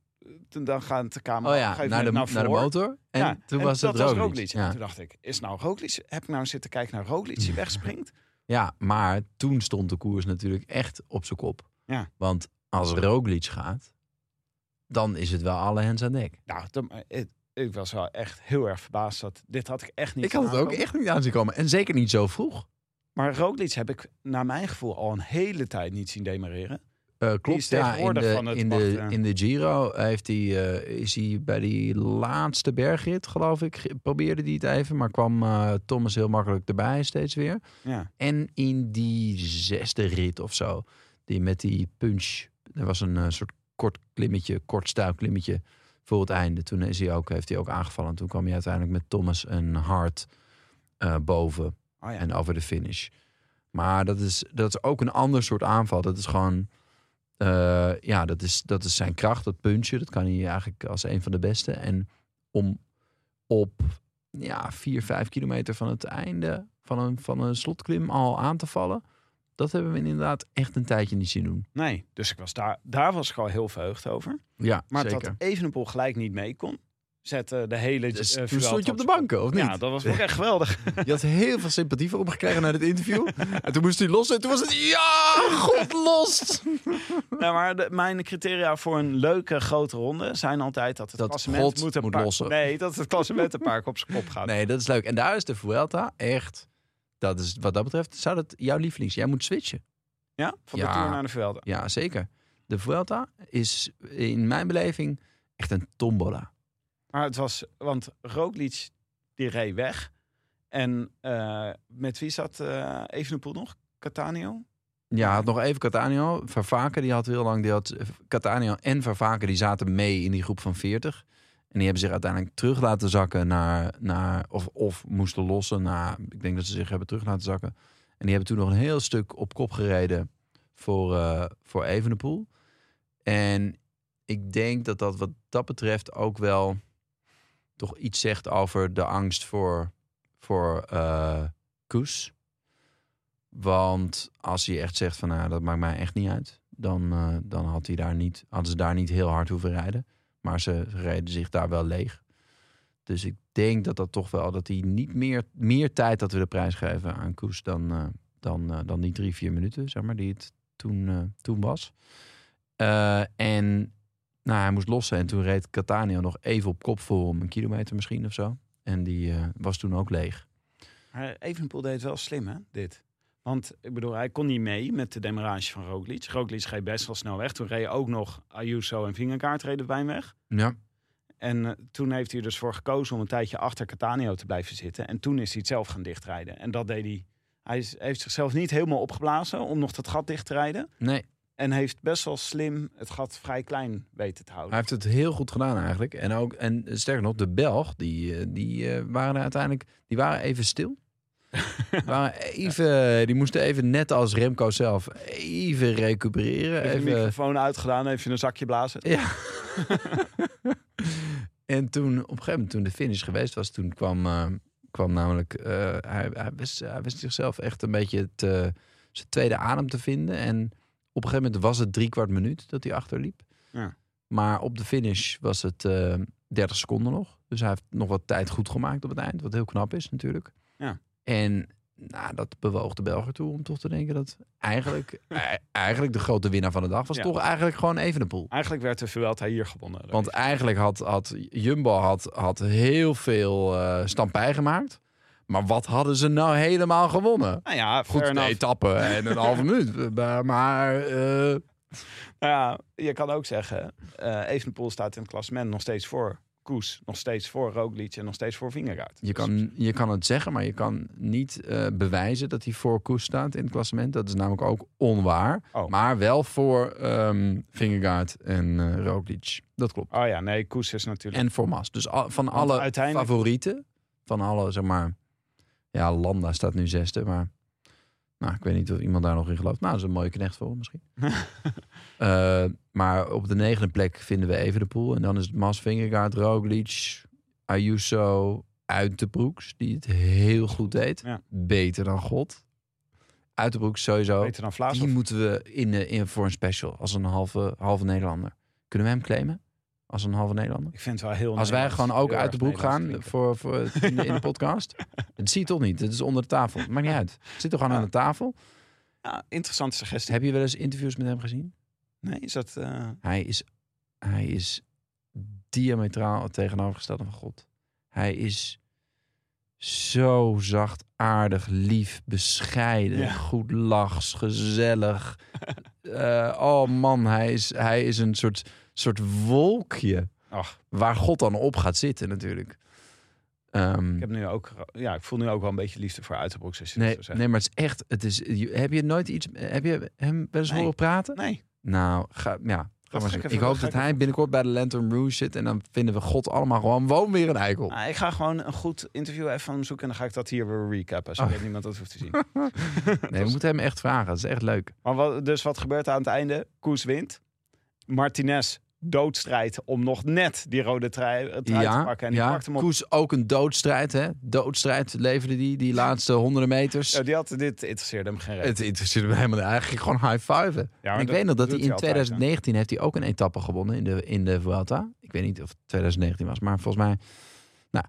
[SPEAKER 4] toen dan gaat de camera
[SPEAKER 3] Oh
[SPEAKER 4] op een
[SPEAKER 3] ja,
[SPEAKER 4] gegeven
[SPEAKER 3] naar de,
[SPEAKER 4] moment
[SPEAKER 3] naar de
[SPEAKER 4] voor.
[SPEAKER 3] motor. En
[SPEAKER 4] Ja,
[SPEAKER 3] toen was
[SPEAKER 4] dat
[SPEAKER 3] het Roglic.
[SPEAKER 4] En
[SPEAKER 3] Ja.
[SPEAKER 4] toen dacht ik, is nou Roglic? Heb ik nou zitten kijken naar Roglic die wegspringt?
[SPEAKER 3] ja, maar toen stond de koers natuurlijk echt op zijn kop.
[SPEAKER 4] Ja.
[SPEAKER 3] Want als Roglic gaat, dan is het wel alle hens aan dek.
[SPEAKER 4] Nou, dan- eh, ik, ik was wel echt heel erg verbaasd. Dat, dit had ik echt niet
[SPEAKER 3] Ik had het
[SPEAKER 4] zien
[SPEAKER 3] ook
[SPEAKER 4] aankomen.
[SPEAKER 3] echt niet aan zien komen. En zeker niet zo vroeg.
[SPEAKER 4] Maar Roglic heb ik, naar mijn gevoel, al een hele tijd niet zien demareren.
[SPEAKER 3] Eh, klopt,
[SPEAKER 4] is
[SPEAKER 3] ja. In
[SPEAKER 4] tegenwoordig
[SPEAKER 3] de,
[SPEAKER 4] van het
[SPEAKER 3] in, de,
[SPEAKER 4] wachten.
[SPEAKER 3] in de Giro heeft hij, eh, is hij bij die laatste bergrit, geloof ik, ge- probeerde hij het even. Maar kwam eh, Thomas heel makkelijk erbij steeds weer.
[SPEAKER 4] Ja,
[SPEAKER 3] En in die zesde rit of zo, die met die punch. Er was een eh, soort kort klimmetje, kort stuip klimmetje voor het einde. Toen is hij ook, heeft hij ook aangevallen. En toen kwam hij uiteindelijk met Thomas en Hart eh, boven
[SPEAKER 4] oh ja.
[SPEAKER 3] en over de finish. Maar dat is, dat is ook een ander soort aanval. Dat is gewoon, eh, ja, dat is, dat is zijn kracht, dat puntje. Dat kan hij eigenlijk als een van de beste. En om op ja, vier, vijf kilometer van het einde van een, van een slotklim al aan te vallen. Dat hebben we inderdaad echt een tijdje niet zien doen.
[SPEAKER 4] Nee, dus ik was daar, daar was ik al heel verheugd over.
[SPEAKER 3] Ja,
[SPEAKER 4] Maar
[SPEAKER 3] zeker.
[SPEAKER 4] dat Evenepoel gelijk niet mee kon, zette de hele...
[SPEAKER 3] Dus
[SPEAKER 4] eh,
[SPEAKER 3] toen
[SPEAKER 4] Vuelta
[SPEAKER 3] stond je op de
[SPEAKER 4] zijn kop.
[SPEAKER 3] banken, of niet?
[SPEAKER 4] Ja, dat was wel echt geweldig.
[SPEAKER 3] Je had heel veel sympathie voor hem gekregen na dit interview. En toen moest hij los en toen was het... Ja, god los!
[SPEAKER 4] nou, maar de- mijn criteria voor een leuke grote ronde zijn altijd dat het
[SPEAKER 3] Dat
[SPEAKER 4] klassement
[SPEAKER 3] God
[SPEAKER 4] een
[SPEAKER 3] moet
[SPEAKER 4] paar-
[SPEAKER 3] lossen.
[SPEAKER 4] Nee, dat het klassement een paar keer op zijn kop gaat.
[SPEAKER 3] Nee, dat is leuk. En daar is de Vuelta echt... Dat is, wat dat betreft zou dat jouw lievelings... Jij moet switchen.
[SPEAKER 4] Ja? Van
[SPEAKER 3] Ja.
[SPEAKER 4] de Tour naar de Velden.
[SPEAKER 3] Ja, zeker. De Vuelta is in mijn beleving echt een tombola.
[SPEAKER 4] Maar het was, want Roglic die reed weg. En eh, met wie zat eh Evenepoel nog? Catanio?
[SPEAKER 3] Ja, had nog even Catania. Vervaken, die had heel lang... Die had, eh, Catania en Vervaken, die zaten mee in die groep van 40. En die hebben zich uiteindelijk terug laten zakken naar... naar of, of moesten lossen naar... Ik denk dat ze zich hebben terug laten zakken. En die hebben toen nog een heel stuk op kop gereden voor, eh voor Evenepoel. En ik denk dat dat wat dat betreft ook wel... toch iets zegt over de angst voor, voor eh, Koes. Want als hij echt zegt van nou, dat maakt mij echt niet uit, dan, eh, dan had hij daar niet, hadden ze daar niet heel hard hoeven rijden. Maar ze reden zich daar wel leeg. Dus ik denk dat dat toch wel, dat hij niet meer, meer tijd dat we de prijs geven aan Koes dan, eh, dan, eh, dan die drie, vier minuten, zeg maar, die het toen, eh, toen was. Eh, en nou, hij moest lossen en toen reed Catania nog even op kop voor hem, een kilometer misschien of zo. En die eh, was toen ook leeg.
[SPEAKER 4] Maar Evenepoel deed het wel slim, hè, dit. Want ik bedoel, hij kon niet mee met de demarage van Roglic. Roglic reed best wel snel weg. Toen reden ook nog Ayuso en Vingerkaart reden bij hem weg.
[SPEAKER 3] Ja,
[SPEAKER 4] En eh, toen heeft hij er dus voor gekozen om een tijdje achter Catanio te blijven zitten. En toen is hij het zelf gaan dichtrijden. En dat deed hij. Hij is- heeft zichzelf niet helemaal opgeblazen om nog dat gat dicht te rijden.
[SPEAKER 3] nee.
[SPEAKER 4] En heeft best wel slim het gat vrij klein weten te houden.
[SPEAKER 3] Hij heeft het heel goed gedaan eigenlijk. En, ook, en sterker nog, de Belg, die, eh, die eh, waren er uiteindelijk die waren even stil. Die waren even, die moesten even, net als Remco zelf, even recupereren.
[SPEAKER 4] Heeft de
[SPEAKER 3] Even,
[SPEAKER 4] microfoon uitgedaan, heeft je een zakje blazen.
[SPEAKER 3] ja. en toen, op een gegeven moment, toen de finish geweest was, toen kwam, eh, kwam namelijk... eh, hij, hij, wist, hij wist zichzelf echt een beetje het, eh, zijn tweede adem te vinden. En op een gegeven moment was het drie kwart minuut dat hij achterliep.
[SPEAKER 4] Ja.
[SPEAKER 3] Maar op de finish was het eh 30 seconden nog. Dus hij heeft nog wat tijd goed gemaakt op het eind. Wat heel knap is natuurlijk.
[SPEAKER 4] Ja.
[SPEAKER 3] En nou, dat bewoog de Belger toe om toch te denken dat eigenlijk, e- eigenlijk de grote winnaar van de dag was
[SPEAKER 4] Ja.
[SPEAKER 3] toch eigenlijk gewoon Evenepoel.
[SPEAKER 4] Eigenlijk werd de Vuelta hier gewonnen.
[SPEAKER 3] Want eigenlijk had, had Jumbo had, had heel veel eh stampij gemaakt. Maar wat hadden ze nou helemaal gewonnen?
[SPEAKER 4] nou ja,
[SPEAKER 3] Goed,
[SPEAKER 4] fair
[SPEAKER 3] een
[SPEAKER 4] enough.
[SPEAKER 3] etappe en een halve minuut. Maar, maar eh,
[SPEAKER 4] Nou ja, je kan ook zeggen, eh Evenepoel staat in het klassement nog steeds voor Koes, nog steeds voor Roglic en nog steeds voor Vingegaard. Dus-
[SPEAKER 3] Je kan, je kan het zeggen, maar je kan niet eh, bewijzen dat hij voor Koes staat in het klassement. Dat is namelijk ook onwaar.
[SPEAKER 4] Oh.
[SPEAKER 3] Maar wel voor ehm Vingegaard en eh Roglic. Dat klopt.
[SPEAKER 4] Oh ja, nee, Koes is natuurlijk...
[SPEAKER 3] En voor Mas. Dus al- van
[SPEAKER 4] Want
[SPEAKER 3] alle
[SPEAKER 4] uiteindelijk-
[SPEAKER 3] favorieten, van alle, zeg maar... Ja, Landa staat nu zesde, maar... Nou, ik weet niet of iemand daar nog in gelooft. Nou, dat is een mooie knecht voor hem misschien. Eh, maar op de negende plek vinden we even de pool. En dan is het Mas, Vingegaard, Roglic, Ayuso, Uitenbroeks. Die het heel goed deed.
[SPEAKER 4] Ja.
[SPEAKER 3] Beter dan God. Uitenbroeks sowieso.
[SPEAKER 4] Beter dan Vlaas.
[SPEAKER 3] Die moeten we in, eh, in voor een special. Als een halve, halve Nederlander. Kunnen we hem claimen? Als een halve Nederlander?
[SPEAKER 4] Ik vind het wel heel
[SPEAKER 3] Als wij
[SPEAKER 4] Nederlands,
[SPEAKER 3] gewoon ook
[SPEAKER 4] heel
[SPEAKER 3] uit de
[SPEAKER 4] erg
[SPEAKER 3] broek gaan
[SPEAKER 4] Nederlands
[SPEAKER 3] voor, voor in, de, in de podcast. Dat zie je toch niet? Het is onder de tafel. Maakt niet uit. Het zit toch gewoon
[SPEAKER 4] Ja.
[SPEAKER 3] aan de tafel.
[SPEAKER 4] klinken. Ja, interessante suggestie.
[SPEAKER 3] Heb je wel eens interviews met hem gezien?
[SPEAKER 4] Nee, is dat... eh,
[SPEAKER 3] Hij is, hij is diametraal het tegenovergestelde van God. Hij is zo zacht, aardig, lief, bescheiden,
[SPEAKER 4] Ja.
[SPEAKER 3] goed lachs, gezellig. Eh, oh man, hij is, hij is een soort, soort wolkje
[SPEAKER 4] Ach,
[SPEAKER 3] waar God dan op gaat zitten natuurlijk. Ehm,
[SPEAKER 4] ik heb nu ook... Ja, ik voel nu ook wel een beetje liefde voor Uiterbroeks, als je
[SPEAKER 3] nee,
[SPEAKER 4] dat zo zegt.
[SPEAKER 3] nee, maar het is echt. Het is, je- heb je nooit iets? Heb je hem wel eens
[SPEAKER 4] Nee.
[SPEAKER 3] horen praten?
[SPEAKER 4] Nee,
[SPEAKER 3] Nou, ga, ja. Ga
[SPEAKER 4] Dat
[SPEAKER 3] maar
[SPEAKER 4] ga
[SPEAKER 3] ik,
[SPEAKER 4] ik even-
[SPEAKER 3] ik
[SPEAKER 4] dat
[SPEAKER 3] hoop
[SPEAKER 4] ga
[SPEAKER 3] dat
[SPEAKER 4] ik
[SPEAKER 3] hij binnenkort bij de Lantern Rouge zit en dan vinden we God allemaal gewoon woon weer een eikel.
[SPEAKER 4] Nou, ik ga gewoon een goed interview even van hem zoeken en dan ga ik dat hier weer recappen, zodat
[SPEAKER 3] Oh.
[SPEAKER 4] niemand dat hoeft te zien.
[SPEAKER 3] Nee, we moeten hem echt vragen. Dat is echt leuk.
[SPEAKER 4] Maar wat, dus wat gebeurt er aan het einde? Koes wint. Martinez doodstrijd om nog net die rode trui, trui te
[SPEAKER 3] Ja,
[SPEAKER 4] pakken. En die
[SPEAKER 3] ja.
[SPEAKER 4] pakt hem op.
[SPEAKER 3] Koes ook een doodstrijd, hè? Doodstrijd leverde die die laatste honderden meters.
[SPEAKER 4] Ja, die had, dit interesseerde hem geen reet.
[SPEAKER 3] Het interesseert me helemaal niet. Eigenlijk gewoon high five.
[SPEAKER 4] maar
[SPEAKER 3] ik
[SPEAKER 4] dat
[SPEAKER 3] weet nog dat
[SPEAKER 4] doet
[SPEAKER 3] hij in
[SPEAKER 4] hij altijd,
[SPEAKER 3] 2019 heeft hij ook een etappe gewonnen in de, in de Vuelta. Ik weet niet of het 2019 was, maar volgens mij. Nou,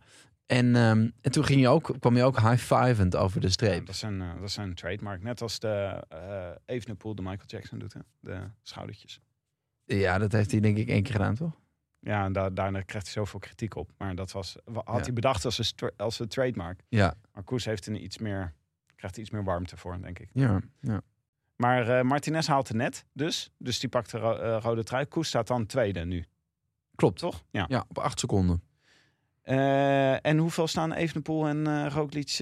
[SPEAKER 3] en, ehm, en toen ging hij ook, kwam hij ook high fivend over de
[SPEAKER 4] Ja,
[SPEAKER 3] streep.
[SPEAKER 4] dat, is een, eh, dat is een trademark. Net als de eh Evenepoel de Michael Jackson doet, hè? de schoudertjes.
[SPEAKER 3] Ja, dat heeft hij denk ik één keer gedaan, toch?
[SPEAKER 4] Ja, en daar daarna krijgt hij zoveel kritiek op. Maar dat was, wa- had
[SPEAKER 3] Ja.
[SPEAKER 4] hij bedacht als een, stra- als een trademark.
[SPEAKER 3] Ja.
[SPEAKER 4] Maar Koes heeft een iets meer, krijgt er iets meer warmte voor, denk ik.
[SPEAKER 3] Ja, ja.
[SPEAKER 4] Maar eh, Martinez haalt het net, dus. Dus die pakt de ro- eh, rode trui. Koes staat dan tweede nu,
[SPEAKER 3] klopt.
[SPEAKER 4] toch? Ja.
[SPEAKER 3] Ja, op acht seconden.
[SPEAKER 4] Eh, en hoeveel staan Evenepoel en eh Roglic? eh,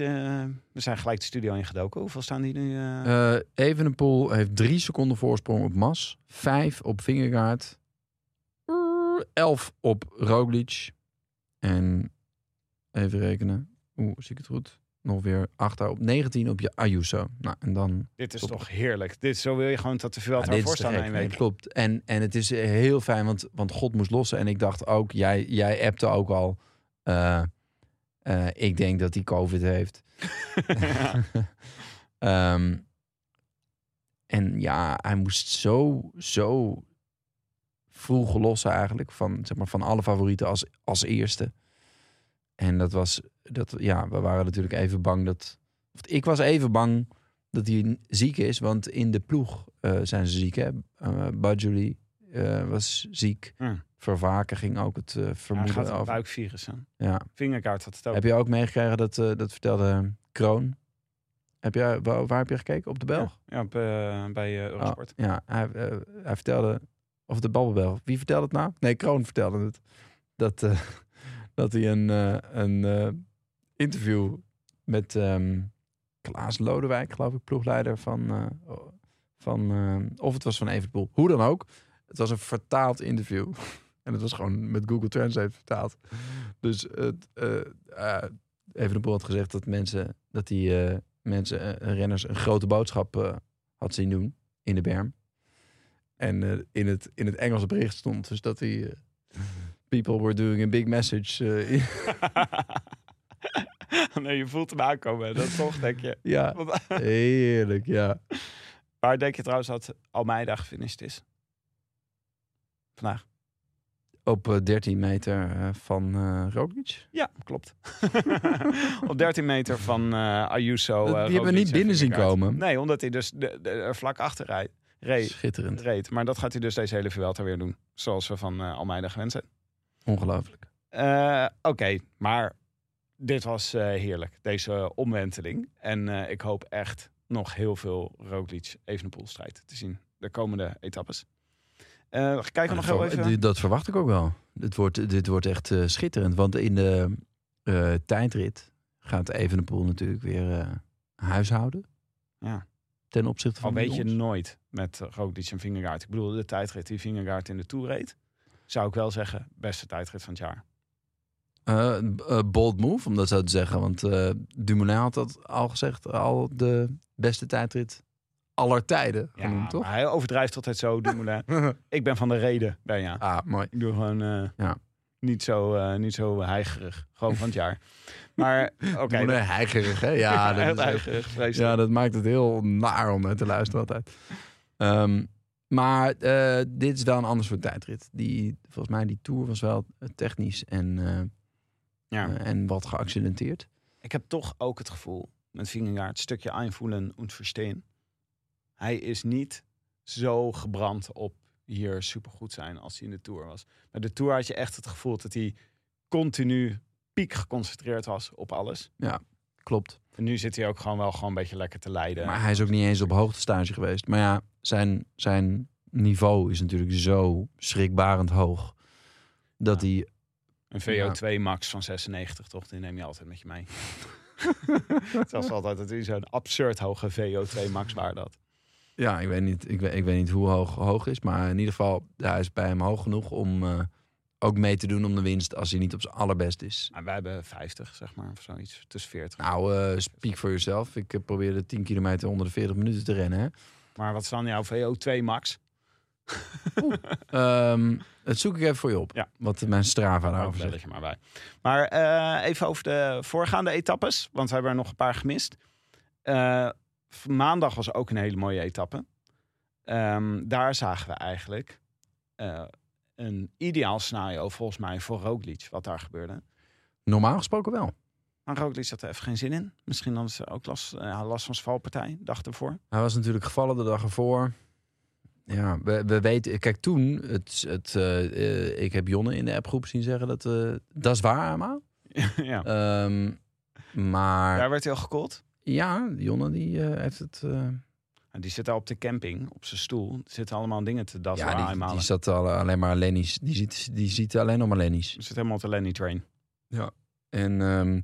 [SPEAKER 4] we zijn gelijk de studio ingedoken. Hoeveel staan die nu? eh?
[SPEAKER 3] Eh Evenepoel heeft drie seconden voorsprong op Mas. Vijf op Vingegaard. Elf op Roglic. En even rekenen. Oeh, zie ik het goed? Nog weer achter op 19 op je Ayuso. Nou, en dan...
[SPEAKER 4] dit is
[SPEAKER 3] top.
[SPEAKER 4] toch heerlijk. Dit, zo wil je gewoon dat de
[SPEAKER 3] Ja,
[SPEAKER 4] Vuelta
[SPEAKER 3] dit
[SPEAKER 4] ervoor
[SPEAKER 3] is te
[SPEAKER 4] staan
[SPEAKER 3] gek.
[SPEAKER 4] in een
[SPEAKER 3] Nee,
[SPEAKER 4] week.
[SPEAKER 3] Klopt. En, en het is eh, heel fijn, want, want God moest lossen. En ik dacht ook, jij, jij appte ook al... eh, eh, ik denk dat hij COVID heeft. Ehm, en ja, hij moest zo, zo vroeg lossen eigenlijk. Van, zeg maar, van alle favorieten als, als eerste. En dat was, dat, ja, we waren natuurlijk even bang dat... of ik was even bang dat hij n- ziek is. Want in de ploeg eh, zijn ze ziek, hè. Eh Badjouli eh, was ziek.
[SPEAKER 4] Hmm.
[SPEAKER 3] Vervaken ging ook het eh,
[SPEAKER 4] Ja, hij
[SPEAKER 3] vermoeden
[SPEAKER 4] gaat een
[SPEAKER 3] over.
[SPEAKER 4] buikvirus aan.
[SPEAKER 3] Ja.
[SPEAKER 4] Vingerkaart had het ook.
[SPEAKER 3] Heb je ook meegekregen dat, eh, dat vertelde Kroon? Heb jij, waar, waar heb je gekeken? Op de Belg?
[SPEAKER 4] Ja, ja, op, eh, bij eh, Eurosport.
[SPEAKER 3] Oh, ja, hij, eh, hij vertelde, of de Babbelbel, wie vertelde het nou? Nee, Kroon vertelde het. Dat, eh, dat hij een, eh, een eh, interview met ehm Klaas Lodewijk, geloof ik, ploegleider van, eh, Van, eh, of het was van Evenpoel. Hoe dan ook. Het was een vertaald interview. en het was gewoon met Google Translate vertaald. Dus het, eh eh, Evenepoel had gezegd dat mensen, dat die eh, mensen, eh, renners, een grote boodschap eh, had zien doen in de berm. En eh, in, het, in het Engelse bericht stond dus dat hij... eh, People were doing a big message. eh, in-
[SPEAKER 4] nee, je voelt hem aankomen. Dat toch, denk je.
[SPEAKER 3] ja,
[SPEAKER 4] Want-
[SPEAKER 3] heerlijk, ja.
[SPEAKER 4] Waar denk je trouwens dat Almeida gefinished is? Vandaag.
[SPEAKER 3] Op eh, 13 meter eh, van eh Roglic.
[SPEAKER 4] Ja, klopt. Op 13 meter van eh, Ayuso.
[SPEAKER 3] Die
[SPEAKER 4] eh,
[SPEAKER 3] hebben we
[SPEAKER 4] Roglic
[SPEAKER 3] niet
[SPEAKER 4] en
[SPEAKER 3] binnen zien
[SPEAKER 4] Vingegaard.
[SPEAKER 3] komen.
[SPEAKER 4] Nee, omdat hij dus de, de- er vlak achter rijdt. Reed,
[SPEAKER 3] Schitterend.
[SPEAKER 4] reed. Maar dat gaat hij dus deze hele Vuelta weer doen. Zoals we van eh, Almeida gewend zijn.
[SPEAKER 3] Ongelooflijk.
[SPEAKER 4] Eh, Oké, maar dit was eh, heerlijk. Deze omwenteling. En eh, ik hoop echt nog heel veel Roglic strijd te zien. De komende etappes. Eh, kijken we nog heel
[SPEAKER 3] dat,
[SPEAKER 4] even...
[SPEAKER 3] dat verwacht ik ook wel. Dit wordt, dit wordt echt eh, schitterend. Want in de eh, tijdrit gaat Evenepoel natuurlijk weer eh, huishouden.
[SPEAKER 4] Ja.
[SPEAKER 3] Ten opzichte van
[SPEAKER 4] Al weet je
[SPEAKER 3] Lyons.
[SPEAKER 4] nooit met Roglic en Vingegaard. Ik bedoel, de tijdrit die Vingegaard in de Tour reed... zou ik wel zeggen, beste tijdrit van het jaar.
[SPEAKER 3] Eh, een, eh, bold move, om dat zo te zeggen. Want eh Dumoulin had dat al gezegd. Al de beste tijdrit aller tijden
[SPEAKER 4] Ja,
[SPEAKER 3] genoemd, toch?
[SPEAKER 4] maar hij overdrijft altijd zo, Dumoulin. ik ben van de reden, ben ja.
[SPEAKER 3] ah, mooi.
[SPEAKER 4] Ik doe gewoon eh,
[SPEAKER 3] Ja.
[SPEAKER 4] niet, zo, eh, niet zo heigerig. Gewoon van het jaar. Maar oké.
[SPEAKER 3] Dumoulin
[SPEAKER 4] dat-
[SPEAKER 3] heigerig, hè? Ja,
[SPEAKER 4] heel
[SPEAKER 3] dat is echt-
[SPEAKER 4] heigerig, vreselijk.
[SPEAKER 3] Ja, dat maakt het heel naar om naar te luisteren altijd. Ehm, maar eh, dit is wel een ander soort tijdrit. Die, volgens mij die Tour was wel technisch en, eh,
[SPEAKER 4] Ja.
[SPEAKER 3] eh, en wat geaccidenteerd.
[SPEAKER 4] Ik heb toch ook het gevoel met Vingegaard, stukje aanvoelen en verstaan. Hij is niet zo gebrand op hier supergoed zijn als hij in de Tour was. Bij de Tour had je echt het gevoel dat hij continu piek geconcentreerd was op alles.
[SPEAKER 3] Klopt.
[SPEAKER 4] En nu zit hij ook gewoon wel gewoon een beetje lekker te leiden.
[SPEAKER 3] Maar hij is ook niet eens op hoogtestage geweest. Maar ja, zijn, zijn niveau is natuurlijk zo schrikbarend hoog. Dat
[SPEAKER 4] Ja.
[SPEAKER 3] hij...
[SPEAKER 4] Een VO2 max van 96, toch? Die neem je altijd met je mee. het was altijd dat hij zo'n absurd hoge VO2 max waarde had.
[SPEAKER 3] Ja, ik weet niet, ik weet, ik weet niet hoe hoog hoog is. Maar in ieder geval, hij is bij hem hoog genoeg om eh, ook mee te doen om de winst... als hij niet op zijn allerbest is.
[SPEAKER 4] Maar wij hebben 50, zeg maar, of zoiets. Tussen 40.
[SPEAKER 3] Nou, eh, speak for yourself. Ik eh, probeerde 10 kilometer onder de 40 minuten te rennen. Hè?
[SPEAKER 4] Maar wat is dan jouw VO2 max?
[SPEAKER 3] Ehm, dat zoek ik even voor je op.
[SPEAKER 4] Ja.
[SPEAKER 3] Wat mijn Strava
[SPEAKER 4] Oh, Daar
[SPEAKER 3] daarover
[SPEAKER 4] bel
[SPEAKER 3] zegt.
[SPEAKER 4] ik je maar bij. Maar eh, even over de voorgaande etappes, want we hebben er nog een paar gemist. Eh, v- maandag was ook een hele mooie etappe. Ehm, daar zagen we eigenlijk eh, een ideaal scenario volgens mij voor Roglic, wat daar gebeurde.
[SPEAKER 3] Normaal gesproken wel.
[SPEAKER 4] Maar Roglic had er even geen zin in. Misschien had ze ook last, eh, last van zijn valpartij, dacht ervoor.
[SPEAKER 3] Hij was natuurlijk gevallen de dag ervoor. Ja, we, we weten... Kijk, toen... Het, het, eh, eh, ik heb Jonne in de appgroep zien zeggen dat... eh, dat is waar, Ama.
[SPEAKER 4] ja.
[SPEAKER 3] Ehm, maar
[SPEAKER 4] Daar werd hij al gekold.
[SPEAKER 3] ja, Jonne die eh, heeft het... eh,
[SPEAKER 4] Nou, Die zit daar op de camping, op zijn stoel. Zitten allemaal dingen te dat
[SPEAKER 3] ja, die, die zat al, alleen maar Lenny's. Die ziet, die ziet alleen nog maar Lenny's.
[SPEAKER 4] Zit helemaal op de Lenny train.
[SPEAKER 3] En, ehm,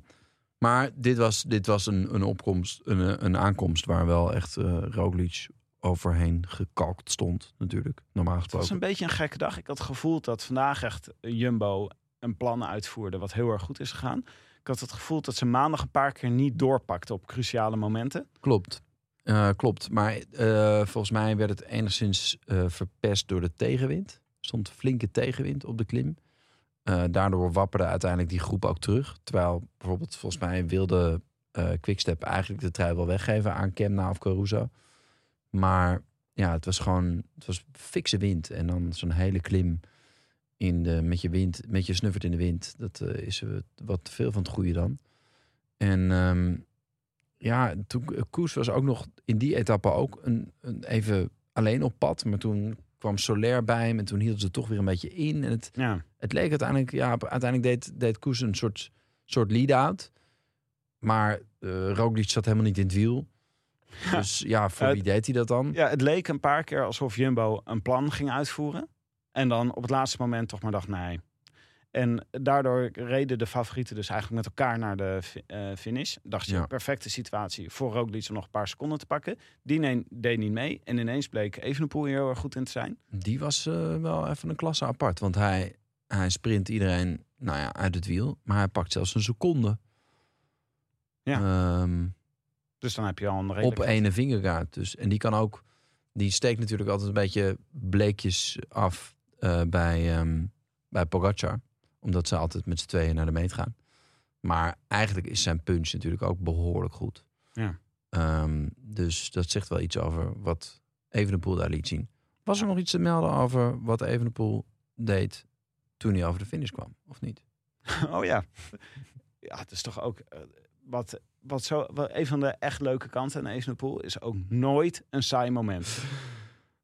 [SPEAKER 3] maar dit was, dit was een, een opkomst, een, eh, een aankomst waar wel echt eh Roglic overheen gekalkt stond, natuurlijk. Normaal
[SPEAKER 4] Het was
[SPEAKER 3] gesproken.
[SPEAKER 4] een beetje een gekke dag. Ik had het gevoel dat vandaag echt Jumbo een plan uitvoerde wat heel erg goed is gegaan. Ik had het gevoel dat ze maandag een paar keer niet doorpakte op cruciale momenten.
[SPEAKER 3] Klopt. Eh, klopt. Maar eh, volgens mij werd het enigszins eh, verpest door de tegenwind. Er stond flinke tegenwind op de klim. Eh, daardoor wapperde uiteindelijk die groep ook terug. Terwijl bijvoorbeeld volgens mij wilde eh Quickstep eigenlijk de trui wel weggeven aan Kemna of Caruso. Maar ja, het was gewoon het was fikse wind. En dan zo'n hele klim in de, met, je wind, met je snuffert in de wind. Dat eh, is eh, wat te veel van het goede dan. En ehm, ja, toen eh, Koes was ook nog in die etappe ook een, een, even alleen op pad. Maar toen kwam Soler bij hem en toen hielden ze toch weer een beetje in. En het,
[SPEAKER 4] Ja,
[SPEAKER 3] het leek uiteindelijk, ja, uiteindelijk deed, deed Koes een soort, soort lead-out. Maar eh Roglic zat helemaal niet in het wiel. Dus ja, voor
[SPEAKER 4] Eh,
[SPEAKER 3] wie deed hij dat dan?
[SPEAKER 4] ja het leek een paar keer alsof Jumbo een plan ging uitvoeren. En dan op het laatste moment toch maar dacht, nee. En daardoor reden de favorieten dus eigenlijk met elkaar naar de fi- eh, finish. Dacht je,
[SPEAKER 3] Ja.
[SPEAKER 4] perfecte situatie voor Roglic om nog een paar seconden te pakken. Die neem- deed niet mee. En ineens bleek Evenepoel hier heel erg goed in te zijn.
[SPEAKER 3] Die was eh, wel even een klasse apart. Want hij, hij sprint iedereen nou ja, uit het wiel. Maar hij pakt zelfs een seconde.
[SPEAKER 4] Ja.
[SPEAKER 3] Ehm,
[SPEAKER 4] Dus dan heb je al een redelijk...
[SPEAKER 3] op ene vingerkaart dus. En die kan ook... Die steekt natuurlijk altijd een beetje bleekjes af eh, bij, ehm, bij Pogacar. Omdat ze altijd met z'n tweeën naar de meet gaan. Maar eigenlijk is zijn punch natuurlijk ook behoorlijk goed.
[SPEAKER 4] Ja.
[SPEAKER 3] Ehm, dus dat zegt wel iets over wat Evenepoel daar liet zien. Was er nog iets te melden over wat Evenepoel deed toen hij over de finish kwam? Of niet?
[SPEAKER 4] Oh ja. Ja, het is toch ook... eh, wat, wat zo, wat, een van de echt leuke kanten aan Evenepoel is ook nooit een saai moment.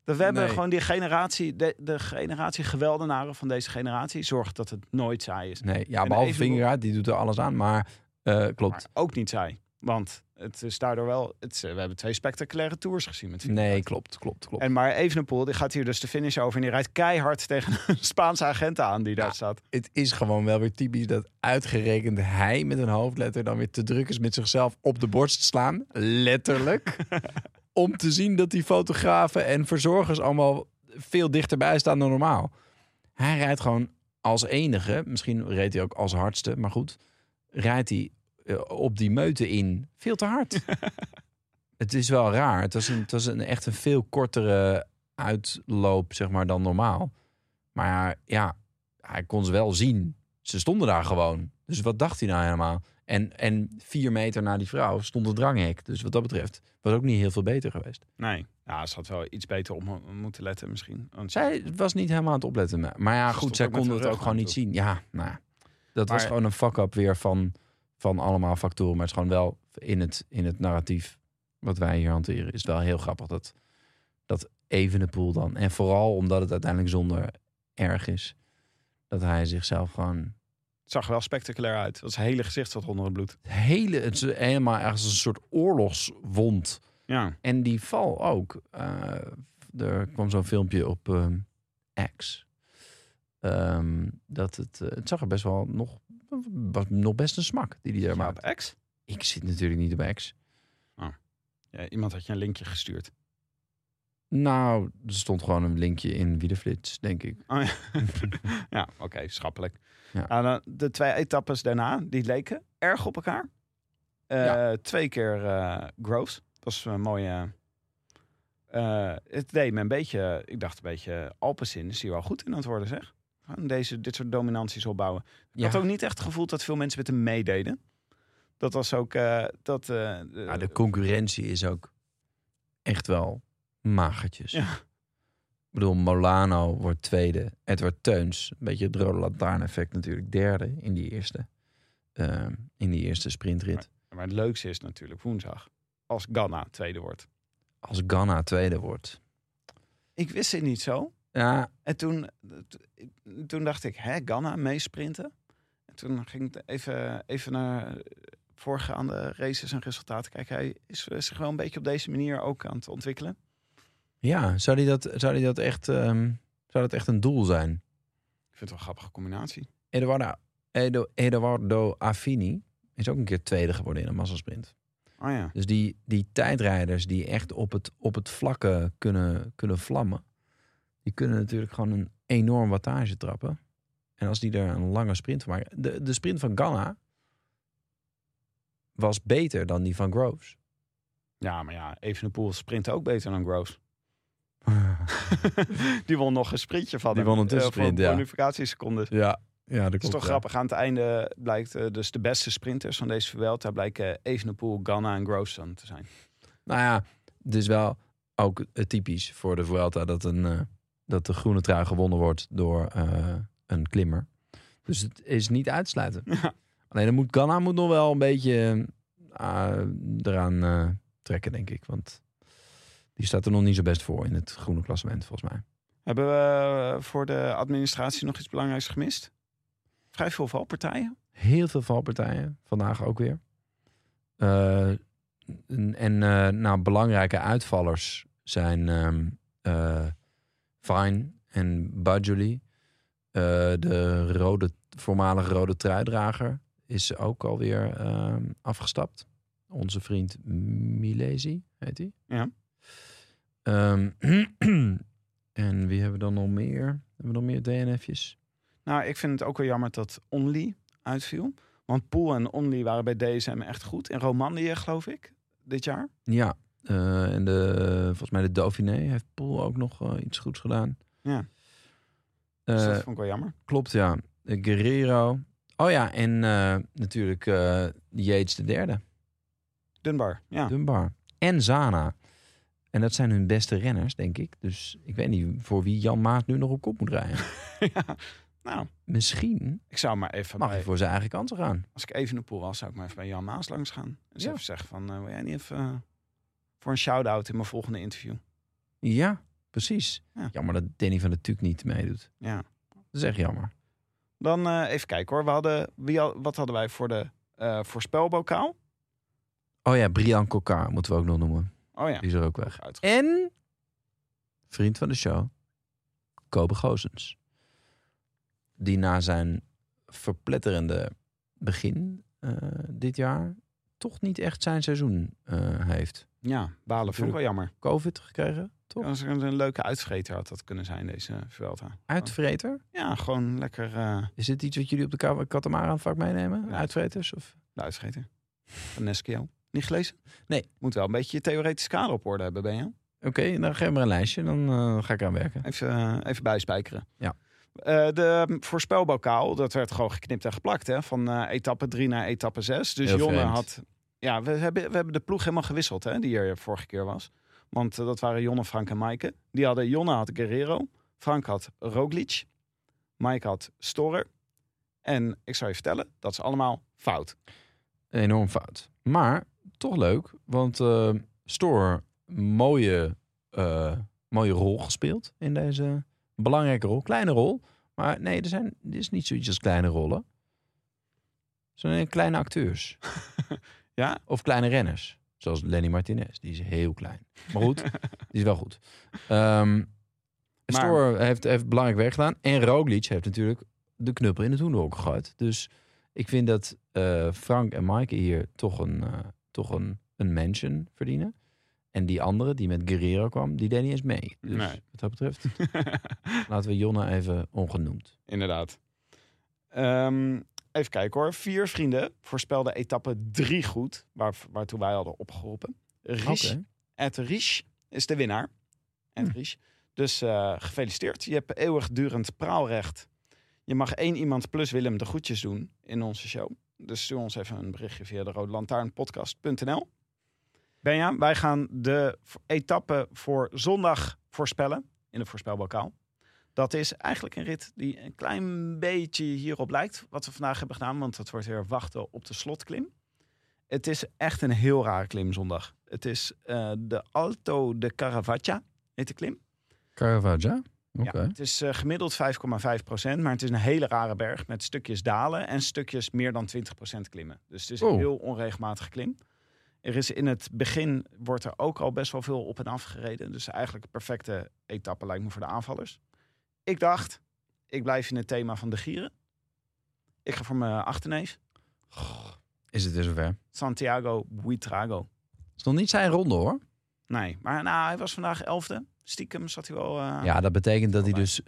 [SPEAKER 4] Dat we hebben
[SPEAKER 3] Nee.
[SPEAKER 4] gewoon die generatie... De, de generatie geweldenaren van deze generatie zorgt dat het nooit saai is.
[SPEAKER 3] Nee, ja,
[SPEAKER 4] En
[SPEAKER 3] behalve
[SPEAKER 4] Evenepoel-
[SPEAKER 3] vingerkaart, die doet er alles aan. Maar eh, klopt.
[SPEAKER 4] Maar ook niet saai. Want het is daardoor wel... Het, is, eh, we hebben twee spectaculaire tours gezien met
[SPEAKER 3] Nee, klopt, klopt, klopt.
[SPEAKER 4] En maar Evenepoel, die gaat hier dus de finish over... en die rijdt keihard tegen een Spaanse agent aan die daar
[SPEAKER 3] Ja.
[SPEAKER 4] staat.
[SPEAKER 3] het is gewoon wel weer typisch dat uitgerekend hij met een hoofdletter dan weer te druk is met zichzelf op de borst slaan. Letterlijk. om te zien dat die fotografen en verzorgers allemaal veel dichterbij staan dan normaal. Hij rijdt gewoon als enige, misschien reed hij ook als hardste, maar goed, rijdt hij eh, op die meute in veel te hard. het is wel raar. Het was, een, het was een, echt een veel kortere uitloop, zeg maar, dan normaal. Maar ja, hij kon ze wel zien. Ze stonden daar gewoon. Dus wat dacht hij nou helemaal? En, en vier meter na die vrouw stond een dranghek. Dus wat dat betreft was ook niet heel veel beter geweest.
[SPEAKER 4] Nee. Ja, ze had wel iets beter op mo- moeten letten misschien. Want
[SPEAKER 3] Zij was niet helemaal aan het opletten. Maar- Maar ja,
[SPEAKER 4] Ze
[SPEAKER 3] goed,
[SPEAKER 4] stond
[SPEAKER 3] zij
[SPEAKER 4] ook met
[SPEAKER 3] konden
[SPEAKER 4] haar
[SPEAKER 3] het ook
[SPEAKER 4] rug
[SPEAKER 3] gewoon
[SPEAKER 4] aan
[SPEAKER 3] niet zien. Ja, nou, ja. dat was
[SPEAKER 4] Maar-
[SPEAKER 3] gewoon een fuck-up weer van, van allemaal factoren. Maar het is gewoon wel in het, in het narratief wat wij hier hanteren. Is het wel heel grappig dat, dat Evenepoel dan. En vooral omdat het uiteindelijk zonder erg is. Dat hij zichzelf gewoon
[SPEAKER 4] het zag er wel spectaculair uit. Dat zijn hele gezicht zat onder het bloed.
[SPEAKER 3] Het hele, het is helemaal ergens een soort oorlogswond.
[SPEAKER 4] Ja.
[SPEAKER 3] En die val ook. Eh, er kwam zo'n filmpje op ehm, X. Ehm, dat het, eh, het zag er best wel nog, was nog best een smak die die er
[SPEAKER 4] Maar
[SPEAKER 3] maakte.
[SPEAKER 4] op X?
[SPEAKER 3] Ik zit natuurlijk niet op X.
[SPEAKER 4] Ja, iemand had je een linkje gestuurd.
[SPEAKER 3] Nou, er stond gewoon een linkje in Wiederflits, denk ik.
[SPEAKER 4] Oh, ja, ja oké, schappelijk.
[SPEAKER 3] Ja.
[SPEAKER 4] Nou, dan de twee etappes daarna, die leken erg op elkaar. Eh,
[SPEAKER 3] Ja.
[SPEAKER 4] Twee keer eh Groves. Dat was een mooie... eh, het deed me een beetje... Ik dacht een beetje... Alpecin is hier wel goed in aan het worden, zeg. Gewoon Deze, dit soort dominanties opbouwen. Ik
[SPEAKER 3] Ja.
[SPEAKER 4] had ook niet echt het gevoel dat veel mensen met hem meededen. Dat was ook... eh, dat, eh,
[SPEAKER 3] Ja, de concurrentie is ook echt wel magertjes.
[SPEAKER 4] Ja.
[SPEAKER 3] Ik bedoel, Molano wordt tweede. Edward Teuns, een beetje het rode lantaarn-effect natuurlijk, derde in die eerste, ehm, in die eerste sprintrit.
[SPEAKER 4] Maar het leukste is natuurlijk woensdag. Als Ganna tweede wordt.
[SPEAKER 3] Als Ganna tweede wordt.
[SPEAKER 4] Ik wist het niet zo.
[SPEAKER 3] Ja,
[SPEAKER 4] En toen, toen dacht ik, hè, Ganna meesprinten? En toen ging ik even, even naar eh, voorgaande races en resultaten kijken. Hij is zich wel een beetje op deze manier ook aan het ontwikkelen.
[SPEAKER 3] ja zou, die dat, zou, die dat echt, ehm, zou dat echt een doel zijn?
[SPEAKER 4] Ik vind het wel een grappige combinatie.
[SPEAKER 3] Eduardo, Edo, Eduardo Affini is ook een keer tweede geworden in een massasprint.
[SPEAKER 4] Oh ja.
[SPEAKER 3] Dus die, die tijdrijders die echt op het, op het vlakke kunnen, kunnen vlammen, die kunnen natuurlijk gewoon een enorm wattage trappen. En als die er een lange sprint van maken. De, de sprint van Ganna was beter dan die van Groves.
[SPEAKER 4] Ja, maar ja, Evenepoel sprint ook beter dan Groves. die won nog een sprintje van
[SPEAKER 3] Die
[SPEAKER 4] hem,
[SPEAKER 3] won een
[SPEAKER 4] eh, voor
[SPEAKER 3] tussensprint, ja.
[SPEAKER 4] kwalificatieseconden.
[SPEAKER 3] ja, ja,
[SPEAKER 4] Het is toch grappig. Aan het einde blijkt eh, dus de beste sprinters van deze Vuelta blijken Evenepoel, Ganna en Groves dan te zijn.
[SPEAKER 3] Nou ja, het is wel ook eh, typisch voor de Vuelta dat, een, eh, dat de groene trui gewonnen wordt door eh, een klimmer. Dus het is niet uitsluiten.
[SPEAKER 4] Ja.
[SPEAKER 3] Alleen dan moet Ganna moet nog wel een beetje eh, eraan eh, trekken, denk ik. Want die staat er nog niet zo best voor in het groene klassement, volgens mij.
[SPEAKER 4] Hebben we eh, voor de administratie nog iets belangrijks gemist? Vrij veel valpartijen.
[SPEAKER 3] Heel veel valpartijen, vandaag ook weer. Eh, en en eh, nou, belangrijke uitvallers zijn ehm eh, Fine en Badjoli. Eh, de rode, voormalige rode truidrager is ook alweer ehm, afgestapt. Onze vriend Milesi, heet hij.
[SPEAKER 4] Ja.
[SPEAKER 3] Ehm, en wie hebben we dan nog meer? Hebben we nog meer DNF'jes?
[SPEAKER 4] Nou, ik vind het ook wel jammer dat Only uitviel. Want Poel en Only waren bij DSM echt goed. In Romandie, geloof ik, dit jaar.
[SPEAKER 3] Ja, eh, en de, volgens mij de Dauphiné heeft Poel ook nog eh, iets goeds gedaan.
[SPEAKER 4] Ja. Dus dat
[SPEAKER 3] Eh,
[SPEAKER 4] vond ik wel jammer.
[SPEAKER 3] klopt, ja. Eh, Guerrero. Oh ja, en eh, natuurlijk eh Yates de derde.
[SPEAKER 4] Dunbar, ja.
[SPEAKER 3] Dunbar en Zana. En dat zijn hun beste renners, denk ik. Dus ik weet niet voor wie Jan Maat nu nog op kop moet rijden.
[SPEAKER 4] Ja. Nou,
[SPEAKER 3] Misschien
[SPEAKER 4] ik zou maar even...
[SPEAKER 3] mag
[SPEAKER 4] bij-
[SPEAKER 3] hij voor zijn eigen kansen gaan.
[SPEAKER 4] Als ik even in de pool was, zou ik maar even bij Jan Maas langs gaan. Dus
[SPEAKER 3] Ja.
[SPEAKER 4] even zeggen van, eh, wil jij niet even eh, voor een shout-out in mijn volgende interview?
[SPEAKER 3] Ja, precies.
[SPEAKER 4] Ja.
[SPEAKER 3] Jammer dat Danny van der Tuuk niet meedoet.
[SPEAKER 4] Ja.
[SPEAKER 3] Dat is echt jammer.
[SPEAKER 4] Dan eh, even kijken hoor. We hadden, wie al, wat hadden wij voor de eh, voorspelbokaal?
[SPEAKER 3] Oh ja, Brian Kokar moeten we ook nog noemen.
[SPEAKER 4] Oh ja,
[SPEAKER 3] Die is er ook weg.
[SPEAKER 4] uitge-
[SPEAKER 3] En vriend van de show, Kobe Gozens. Die na zijn verpletterende begin eh, dit jaar toch niet echt zijn seizoen eh, heeft.
[SPEAKER 4] Ja, balen vond ik wel jammer.
[SPEAKER 3] Covid gekregen, toch?
[SPEAKER 4] Als ik een leuke uitvreter had dat kunnen zijn, deze Vuelta.
[SPEAKER 3] Uitvreter?
[SPEAKER 4] Ja, gewoon lekker eh
[SPEAKER 3] Is dit iets wat jullie op de Ka- Katamara vaak meenemen?
[SPEAKER 4] Ja.
[SPEAKER 3] Uitvreters? Of?
[SPEAKER 4] de uitvreter. Van Nesquio. Niet gelezen?
[SPEAKER 3] Nee.
[SPEAKER 4] Moet wel een beetje je theoretische kader op orde hebben, ben je?
[SPEAKER 3] Oké, dan geef me een lijstje, dan eh, ga ik aan werken.
[SPEAKER 4] Even, eh, even bijspijkeren.
[SPEAKER 3] Ja.
[SPEAKER 4] Eh, de voorspelbokaal, dat werd gewoon geknipt en geplakt. Hè? Van eh, etappe 3 naar etappe 6. Dus
[SPEAKER 3] Heel
[SPEAKER 4] Jonne
[SPEAKER 3] vreemd.
[SPEAKER 4] had... Ja, we hebben, we hebben de ploeg helemaal gewisseld, hè, die er vorige keer was. Want eh, dat waren Jonne, Frank en Maaike. Die hadden... Jonne had Guerrero. Frank had Roglic. Maaike had Storer. En ik zou je vertellen, dat is allemaal fout.
[SPEAKER 3] Enorm fout. Maar toch leuk, want eh Store, mooie, eh, mooie rol gespeeld in deze belangrijke rol. Kleine rol, maar nee, er, zijn, er is niet zoiets als kleine rollen. Het zijn kleine acteurs.
[SPEAKER 4] Ja?
[SPEAKER 3] Of kleine renners. Zoals Lenny Martinez, die is heel klein. Maar goed, die is wel goed. Ehm
[SPEAKER 4] Maar-
[SPEAKER 3] Store heeft, heeft belangrijk werk gedaan. En Roglic heeft natuurlijk de knuppel in het hoenderhok gegooid. Dus ik vind dat eh, Frank en Maaike hier toch een, eh, toch een, een mention verdienen. En die andere, die met Guerrero kwam, die deed niet eens mee. Dus
[SPEAKER 4] Nee.
[SPEAKER 3] wat dat betreft, laten we Jonna even ongenoemd.
[SPEAKER 4] Inderdaad. Ehm, even kijken hoor. Vier vrienden voorspelden etappe drie goed, waar, waartoe wij hadden opgeroepen. Ries,
[SPEAKER 3] Oké.
[SPEAKER 4] Ed Ries is de winnaar. Ed Ries. Dus eh, gefeliciteerd. Je hebt eeuwigdurend praalrecht. Je mag één iemand plus Willem de groetjes doen in onze show. Dus stuur ons even een berichtje via de roodlantaarnpodcast.nl. Benja, wij gaan de v- etappe voor zondag voorspellen in de voorspelbokaal. Dat is eigenlijk een rit die een klein beetje hierop lijkt. Wat we vandaag hebben gedaan, want dat wordt weer wachten op de slotklim. Het is echt een heel rare klim zondag. Het is eh, de Alto de Caravaggia, heet de klim.
[SPEAKER 3] Caravaggio? Oké.
[SPEAKER 4] Ja, het is eh, gemiddeld 5,5 procent, maar het is een hele rare berg met stukjes dalen en stukjes meer dan 20 procent klimmen. Dus het is een
[SPEAKER 3] Oh.
[SPEAKER 4] heel onregelmatig klim. Er is in het begin wordt er ook al best wel veel op en af gereden. Dus eigenlijk een perfecte etappe lijkt me voor de aanvallers. Ik dacht, ik blijf in het thema van de gieren. Ik ga voor mijn achterneef.
[SPEAKER 3] Goh, Is het weer zover? Het
[SPEAKER 4] Santiago Buitrago.
[SPEAKER 3] is nog niet zijn ronde hoor.
[SPEAKER 4] Nee, maar nou, hij was vandaag elfde. Stiekem zat hij wel... eh,
[SPEAKER 3] Ah. Ja, dat betekent dat hij dus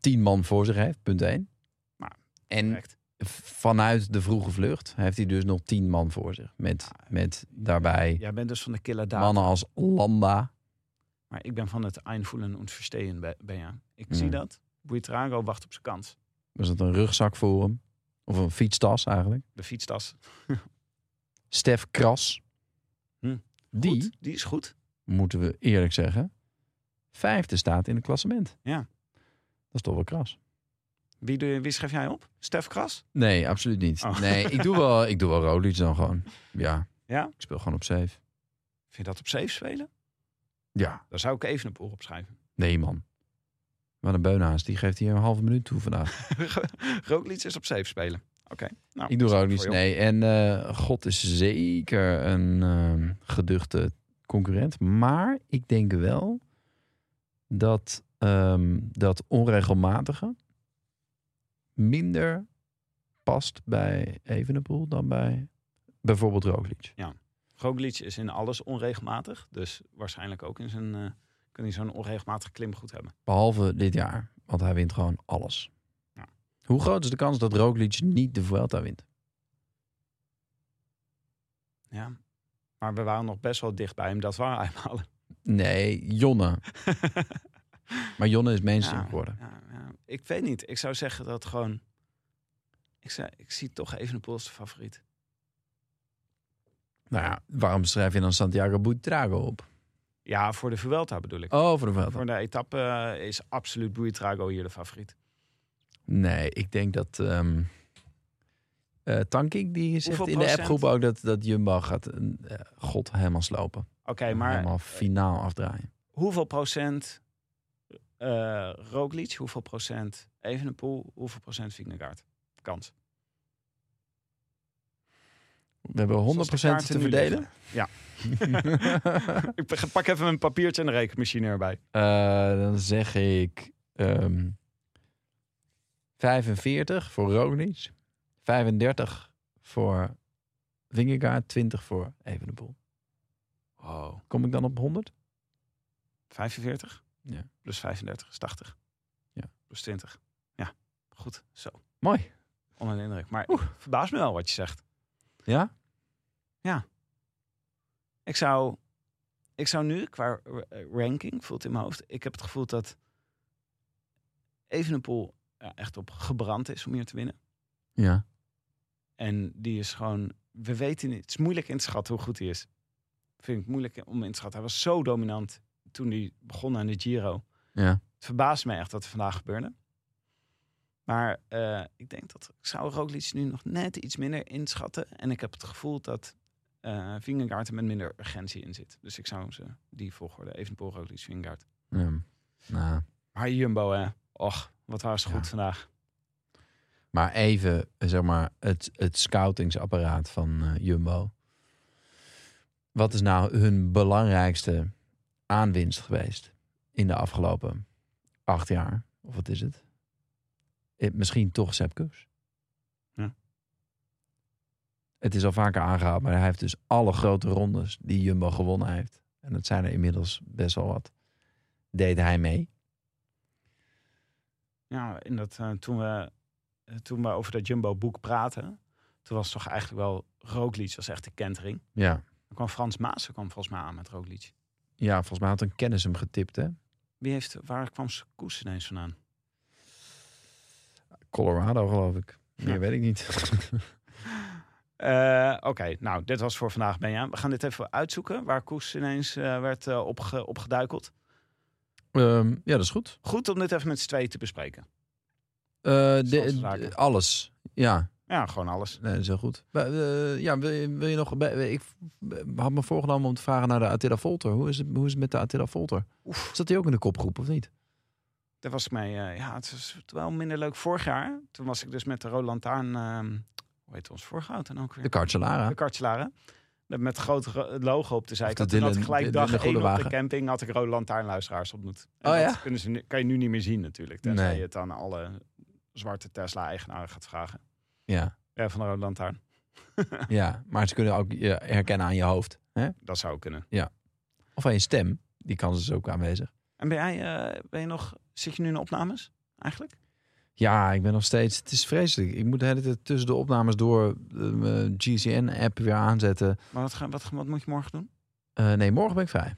[SPEAKER 3] tien man voor zich heeft, punt één.
[SPEAKER 4] Maar,
[SPEAKER 3] en
[SPEAKER 4] correct.
[SPEAKER 3] vanuit de vroege vlucht heeft hij dus nog tien man voor zich. Met,
[SPEAKER 4] Ah.
[SPEAKER 3] met daarbij
[SPEAKER 4] Jij bent dus van de killer data.
[SPEAKER 3] mannen als Landa.
[SPEAKER 4] Maar ik ben van het einvoelen en verstehen, Be- Benja. Ik
[SPEAKER 3] Ja.
[SPEAKER 4] zie dat. Buitrago wacht op zijn kans.
[SPEAKER 3] Was dat een rugzak voor hem? Of een fietstas eigenlijk?
[SPEAKER 4] De fietstas.
[SPEAKER 3] Stef Kras.
[SPEAKER 4] Hm.
[SPEAKER 3] Die,
[SPEAKER 4] Goed, die is goed.
[SPEAKER 3] moeten we eerlijk zeggen, vijfde staat in het klassement.
[SPEAKER 4] Ja.
[SPEAKER 3] Dat is toch wel kras.
[SPEAKER 4] Wie, doe je- wie schrijf jij op? Stef Kras?
[SPEAKER 3] Nee, absoluut niet.
[SPEAKER 4] Oh.
[SPEAKER 3] Nee, ik doe wel, ik doe wel Roglic dan gewoon. Ja.
[SPEAKER 4] Ja?
[SPEAKER 3] Ik speel gewoon op safe.
[SPEAKER 4] Vind je dat op safe spelen?
[SPEAKER 3] Ja.
[SPEAKER 4] Daar zou ik even een poer op schrijven.
[SPEAKER 3] Nee, man. Maar de Beunaas, die geeft hier een halve minuut toe vandaag.
[SPEAKER 4] Roglic is op safe spelen. Oké. Nou,
[SPEAKER 3] ik doe
[SPEAKER 4] staat
[SPEAKER 3] Roglic,
[SPEAKER 4] voor je op.
[SPEAKER 3] nee. En eh, God is zeker een eh, geduchte concurrent. Maar ik denk wel dat ehm, dat onregelmatige minder past bij Evenepoel dan bij bijvoorbeeld Roglic.
[SPEAKER 4] Roglic is in alles onregelmatig. Dus waarschijnlijk ook in zijn... eh, kan hij zo'n onregelmatige klim goed hebben.
[SPEAKER 3] Behalve dit jaar, want hij wint gewoon alles.
[SPEAKER 4] Ja.
[SPEAKER 3] Hoe groot is de kans dat Roglic niet de Vuelta wint?
[SPEAKER 4] Ja. Maar we waren nog best wel dicht bij hem. Dat waren einhalen.
[SPEAKER 3] Nee, Jonne. Maar Jonne is mainstream
[SPEAKER 4] Ja.
[SPEAKER 3] geworden.
[SPEAKER 4] Ja, ja. Ik weet niet. Ik zou zeggen dat gewoon... Ik, zou, ik zie toch even een als de favoriet.
[SPEAKER 3] Nou ja, waarom schrijf je dan Santiago Buitrago op?
[SPEAKER 4] Ja, voor de Vuelta bedoel ik.
[SPEAKER 3] Oh, voor de Vuelta.
[SPEAKER 4] Voor de etappe eh, is absoluut Buitrago hier de favoriet.
[SPEAKER 3] Nee, ik denk dat... ehm eh, Tankink, die zegt
[SPEAKER 4] Hoeveel
[SPEAKER 3] in de
[SPEAKER 4] procent?
[SPEAKER 3] appgroep ook dat, dat Jumbo gaat een, eh, God helemaal slopen.
[SPEAKER 4] Oké, maar
[SPEAKER 3] helemaal finaal afdraaien.
[SPEAKER 4] hoeveel procent eh Roglic, hoeveel procent Evenepoel, hoeveel procent Vingegaard? Kans.
[SPEAKER 3] We hebben 100%
[SPEAKER 4] Zoals de
[SPEAKER 3] te
[SPEAKER 4] kaarten nu
[SPEAKER 3] verdelen.
[SPEAKER 4] liggen. Ja. ik pak even mijn papiertje en een rekenmachine erbij.
[SPEAKER 3] Eh, dan zeg ik ehm, 45 voor Roglic, 35 voor Vingegaard, 20 voor Evenepoel.
[SPEAKER 4] Oh.
[SPEAKER 3] Kom ik dan op 100?
[SPEAKER 4] 45?
[SPEAKER 3] Ja.
[SPEAKER 4] Plus 35 is 80.
[SPEAKER 3] Ja.
[SPEAKER 4] Plus 20. Ja, goed. Zo.
[SPEAKER 3] Mooi.
[SPEAKER 4] Onder de indruk. Maar verbaas verbaast me wel wat je zegt.
[SPEAKER 3] Ja?
[SPEAKER 4] Ik zou, ik zou nu, qua eh, ranking, voelt in mijn hoofd... Ik heb het gevoel dat Evenepoel ja, echt op gebrand is om hier te winnen.
[SPEAKER 3] Ja.
[SPEAKER 4] En die is gewoon... We weten niet. Het is moeilijk in te schatten hoe goed hij is. Vind ik moeilijk om in te schatten. Hij was zo dominant toen hij begon aan de Giro.
[SPEAKER 3] Ja.
[SPEAKER 4] Het verbaast me echt wat er vandaag gebeurde. Maar eh, ik denk dat ik zou Roglic nu nog net iets minder inschatten. En ik heb het gevoel dat eh Vingegaard er met minder urgentie in zit. Dus ik zou ze die volgorde, Evenpoel, Roglic, Vingegaard.
[SPEAKER 3] Ja. Nou,
[SPEAKER 4] Maar Jumbo, hè. Och, wat was ze
[SPEAKER 3] Ja.
[SPEAKER 4] goed vandaag.
[SPEAKER 3] maar even, eh, zeg maar, het, het scoutingsapparaat van eh, Jumbo. Wat is nou hun belangrijkste aanwinst geweest in de afgelopen acht jaar? Of wat is het? Eh, Misschien toch Sepp Kuss.
[SPEAKER 4] Ja.
[SPEAKER 3] Het is al vaker aangehaald, maar hij heeft dus alle grote rondes die Jumbo gewonnen heeft. En dat zijn er inmiddels best wel wat. Deed hij mee.
[SPEAKER 4] Ja, in dat, eh, toen, we, eh, toen we over dat Jumbo-boek praten... toen was het toch eigenlijk wel... Roglic was echt de kentering.
[SPEAKER 3] Ja.
[SPEAKER 4] Dan kwam Frans Maas, kwam volgens mij aan met Roglic.
[SPEAKER 3] ja, volgens mij had een kennis hem getipt, hè?
[SPEAKER 4] Wie heeft, waar kwam Koes ineens vandaan?
[SPEAKER 3] Colorado, geloof ik. Meer
[SPEAKER 4] Ja.
[SPEAKER 3] weet ik niet.
[SPEAKER 4] Eh, Oké, nou, dit was voor vandaag, Benja. We gaan dit even uitzoeken, waar Koes ineens eh, werd eh, opge- opgeduikeld.
[SPEAKER 3] Ehm, ja, dat is goed.
[SPEAKER 4] Goed om dit even met z'n tweeën te bespreken.
[SPEAKER 3] Eh, de,
[SPEAKER 4] Stadszaken.
[SPEAKER 3] de- alles. Ja,
[SPEAKER 4] Ja, gewoon alles.
[SPEAKER 3] nee, dat is heel goed. Maar, eh, ja, wil, je- wil je nog... bij- Ik had me voorgenomen om te vragen naar de Attila Volter. Hoe is het, hoe is het met de Attila Volter? Zat hij ook in de kopgroep, of niet?
[SPEAKER 4] Daar was ik mee, eh, ja, het was wel minder leuk vorig jaar. Toen was ik dus met de Roland aan, hoe heet ons vorige auto dan ook weer?
[SPEAKER 3] De Carcelara.
[SPEAKER 4] de kartslaren. Met een groot ro- logo op de zijkant.
[SPEAKER 3] de
[SPEAKER 4] Toen had ik
[SPEAKER 3] Dylan-
[SPEAKER 4] gelijk
[SPEAKER 3] de- de- de
[SPEAKER 4] dag
[SPEAKER 3] Goede
[SPEAKER 4] één op de
[SPEAKER 3] Wagen.
[SPEAKER 4] camping had ik rode lantaarnluisteraars ontmoet. En
[SPEAKER 3] Oh
[SPEAKER 4] dat
[SPEAKER 3] ja?
[SPEAKER 4] kunnen ze nu, kan je nu niet meer zien natuurlijk. Tenzij
[SPEAKER 3] Nee.
[SPEAKER 4] je het aan alle zwarte Tesla-eigenaren gaat vragen.
[SPEAKER 3] Ja,
[SPEAKER 4] Ja, van de rode lantaarn.
[SPEAKER 3] ja, maar ze kunnen ook je herkennen aan je hoofd. Hè?
[SPEAKER 4] Dat zou kunnen.
[SPEAKER 3] Of aan je stem. Die kans is ook aanwezig.
[SPEAKER 4] En ben jij, eh, ben je nog, zit je nu in opnames eigenlijk?
[SPEAKER 3] Ja, ik ben nog steeds... Het is vreselijk. Ik moet de hele tijd tussen de opnames door eh, mijn GCN-app weer aanzetten.
[SPEAKER 4] Maar wat, ga, wat, wat moet je morgen doen?
[SPEAKER 3] Eh, nee, morgen ben ik vrij.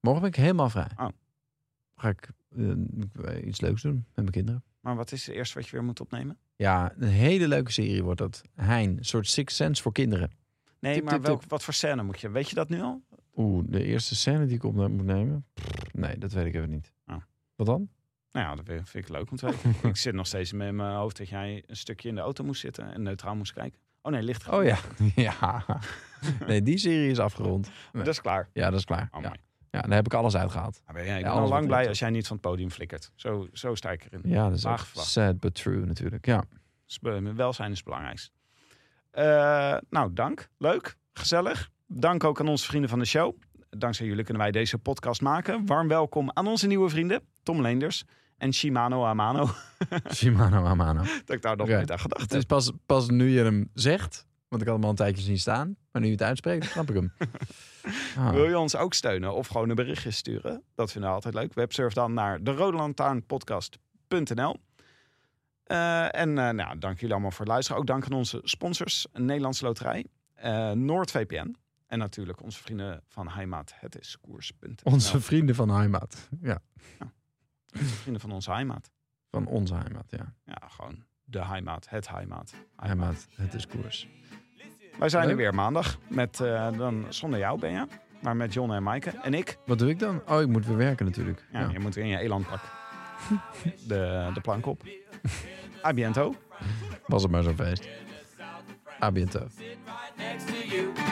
[SPEAKER 3] Morgen ben ik helemaal vrij.
[SPEAKER 4] Oh.
[SPEAKER 3] Ga ik eh, iets leuks doen met mijn kinderen.
[SPEAKER 4] Maar wat is het eerste wat je weer moet opnemen?
[SPEAKER 3] Ja, een hele leuke serie wordt dat. Hein, een soort Six Sense voor kinderen.
[SPEAKER 4] Nee,
[SPEAKER 3] Tip,
[SPEAKER 4] maar
[SPEAKER 3] tip,
[SPEAKER 4] welk, wat voor scène moet je? Weet je dat nu al?
[SPEAKER 3] Oeh, de eerste scène die ik op moet nemen? Pff, Nee, dat weet ik even niet.
[SPEAKER 4] Oh.
[SPEAKER 3] Wat dan?
[SPEAKER 4] Nou ja, dat vind vind ik leuk om te weten. ik zit nog steeds met mijn hoofd dat jij een stukje in de auto moest zitten en neutraal moest kijken. Oh nee, licht.
[SPEAKER 3] Oh ja. ja. Nee, die serie is afgerond.
[SPEAKER 4] Dat is klaar.
[SPEAKER 3] Ja, dat is klaar.
[SPEAKER 4] Oh,
[SPEAKER 3] ja.
[SPEAKER 4] mooi.
[SPEAKER 3] ja, daar heb ik alles uitgehaald.
[SPEAKER 4] Nou, ben jij- ik
[SPEAKER 3] Ja,
[SPEAKER 4] ben al
[SPEAKER 3] alles
[SPEAKER 4] lang
[SPEAKER 3] wat
[SPEAKER 4] blij
[SPEAKER 3] leuk.
[SPEAKER 4] als jij niet van het podium flikkert. Zo, zo sta ik erin.
[SPEAKER 3] Ja, dat is ook
[SPEAKER 4] Laag vlag.
[SPEAKER 3] sad but true natuurlijk. Ja.
[SPEAKER 4] Dus be- mijn welzijn is het belangrijkste. Eh, nou, dank. Leuk. Gezellig. Dank ook aan onze vrienden van de show. Dankzij jullie kunnen wij deze podcast maken. Warm welkom aan onze nieuwe vrienden, Tom Leenders En Shimano Amano.
[SPEAKER 3] Shimano Amano.
[SPEAKER 4] dat ik daar nog
[SPEAKER 3] Oké.
[SPEAKER 4] nooit aan gedacht
[SPEAKER 3] Het
[SPEAKER 4] heb.
[SPEAKER 3] is pas, pas nu je hem zegt, want ik had hem al een tijdje zien staan. Maar nu je het uitspreekt, snap ik hem. Ah.
[SPEAKER 4] Wil je ons ook steunen of gewoon een berichtje sturen? Dat vinden we altijd leuk. Websurf dan naar de en eh, nou, dank jullie allemaal voor het luisteren. Ook dank aan onze sponsors. Nederlands Loterij, eh NoordVPN. En natuurlijk onze vrienden van Heimaat. Het is koers.nl.
[SPEAKER 3] Onze vrienden van Heimat. Ja,
[SPEAKER 4] Onze vrienden van onze Heimaat.
[SPEAKER 3] van onze Heimat, ja.
[SPEAKER 4] Ja, gewoon de Heimaat. Het Heimaat.
[SPEAKER 3] Heimat, het is koers.
[SPEAKER 4] Wij zijn er
[SPEAKER 3] Leuk.
[SPEAKER 4] weer maandag. Met, eh, dan zonder jou ben je. Maar met John en Maaike. En ik.
[SPEAKER 3] Wat doe ik dan? Oh, ik moet weer werken natuurlijk.
[SPEAKER 4] Ja,
[SPEAKER 3] Ja.
[SPEAKER 4] Je moet weer in je eland pakken. De, de plank op. A biento.
[SPEAKER 3] Was het maar zo'n feest. A bientôt.
[SPEAKER 6] sit right next to you.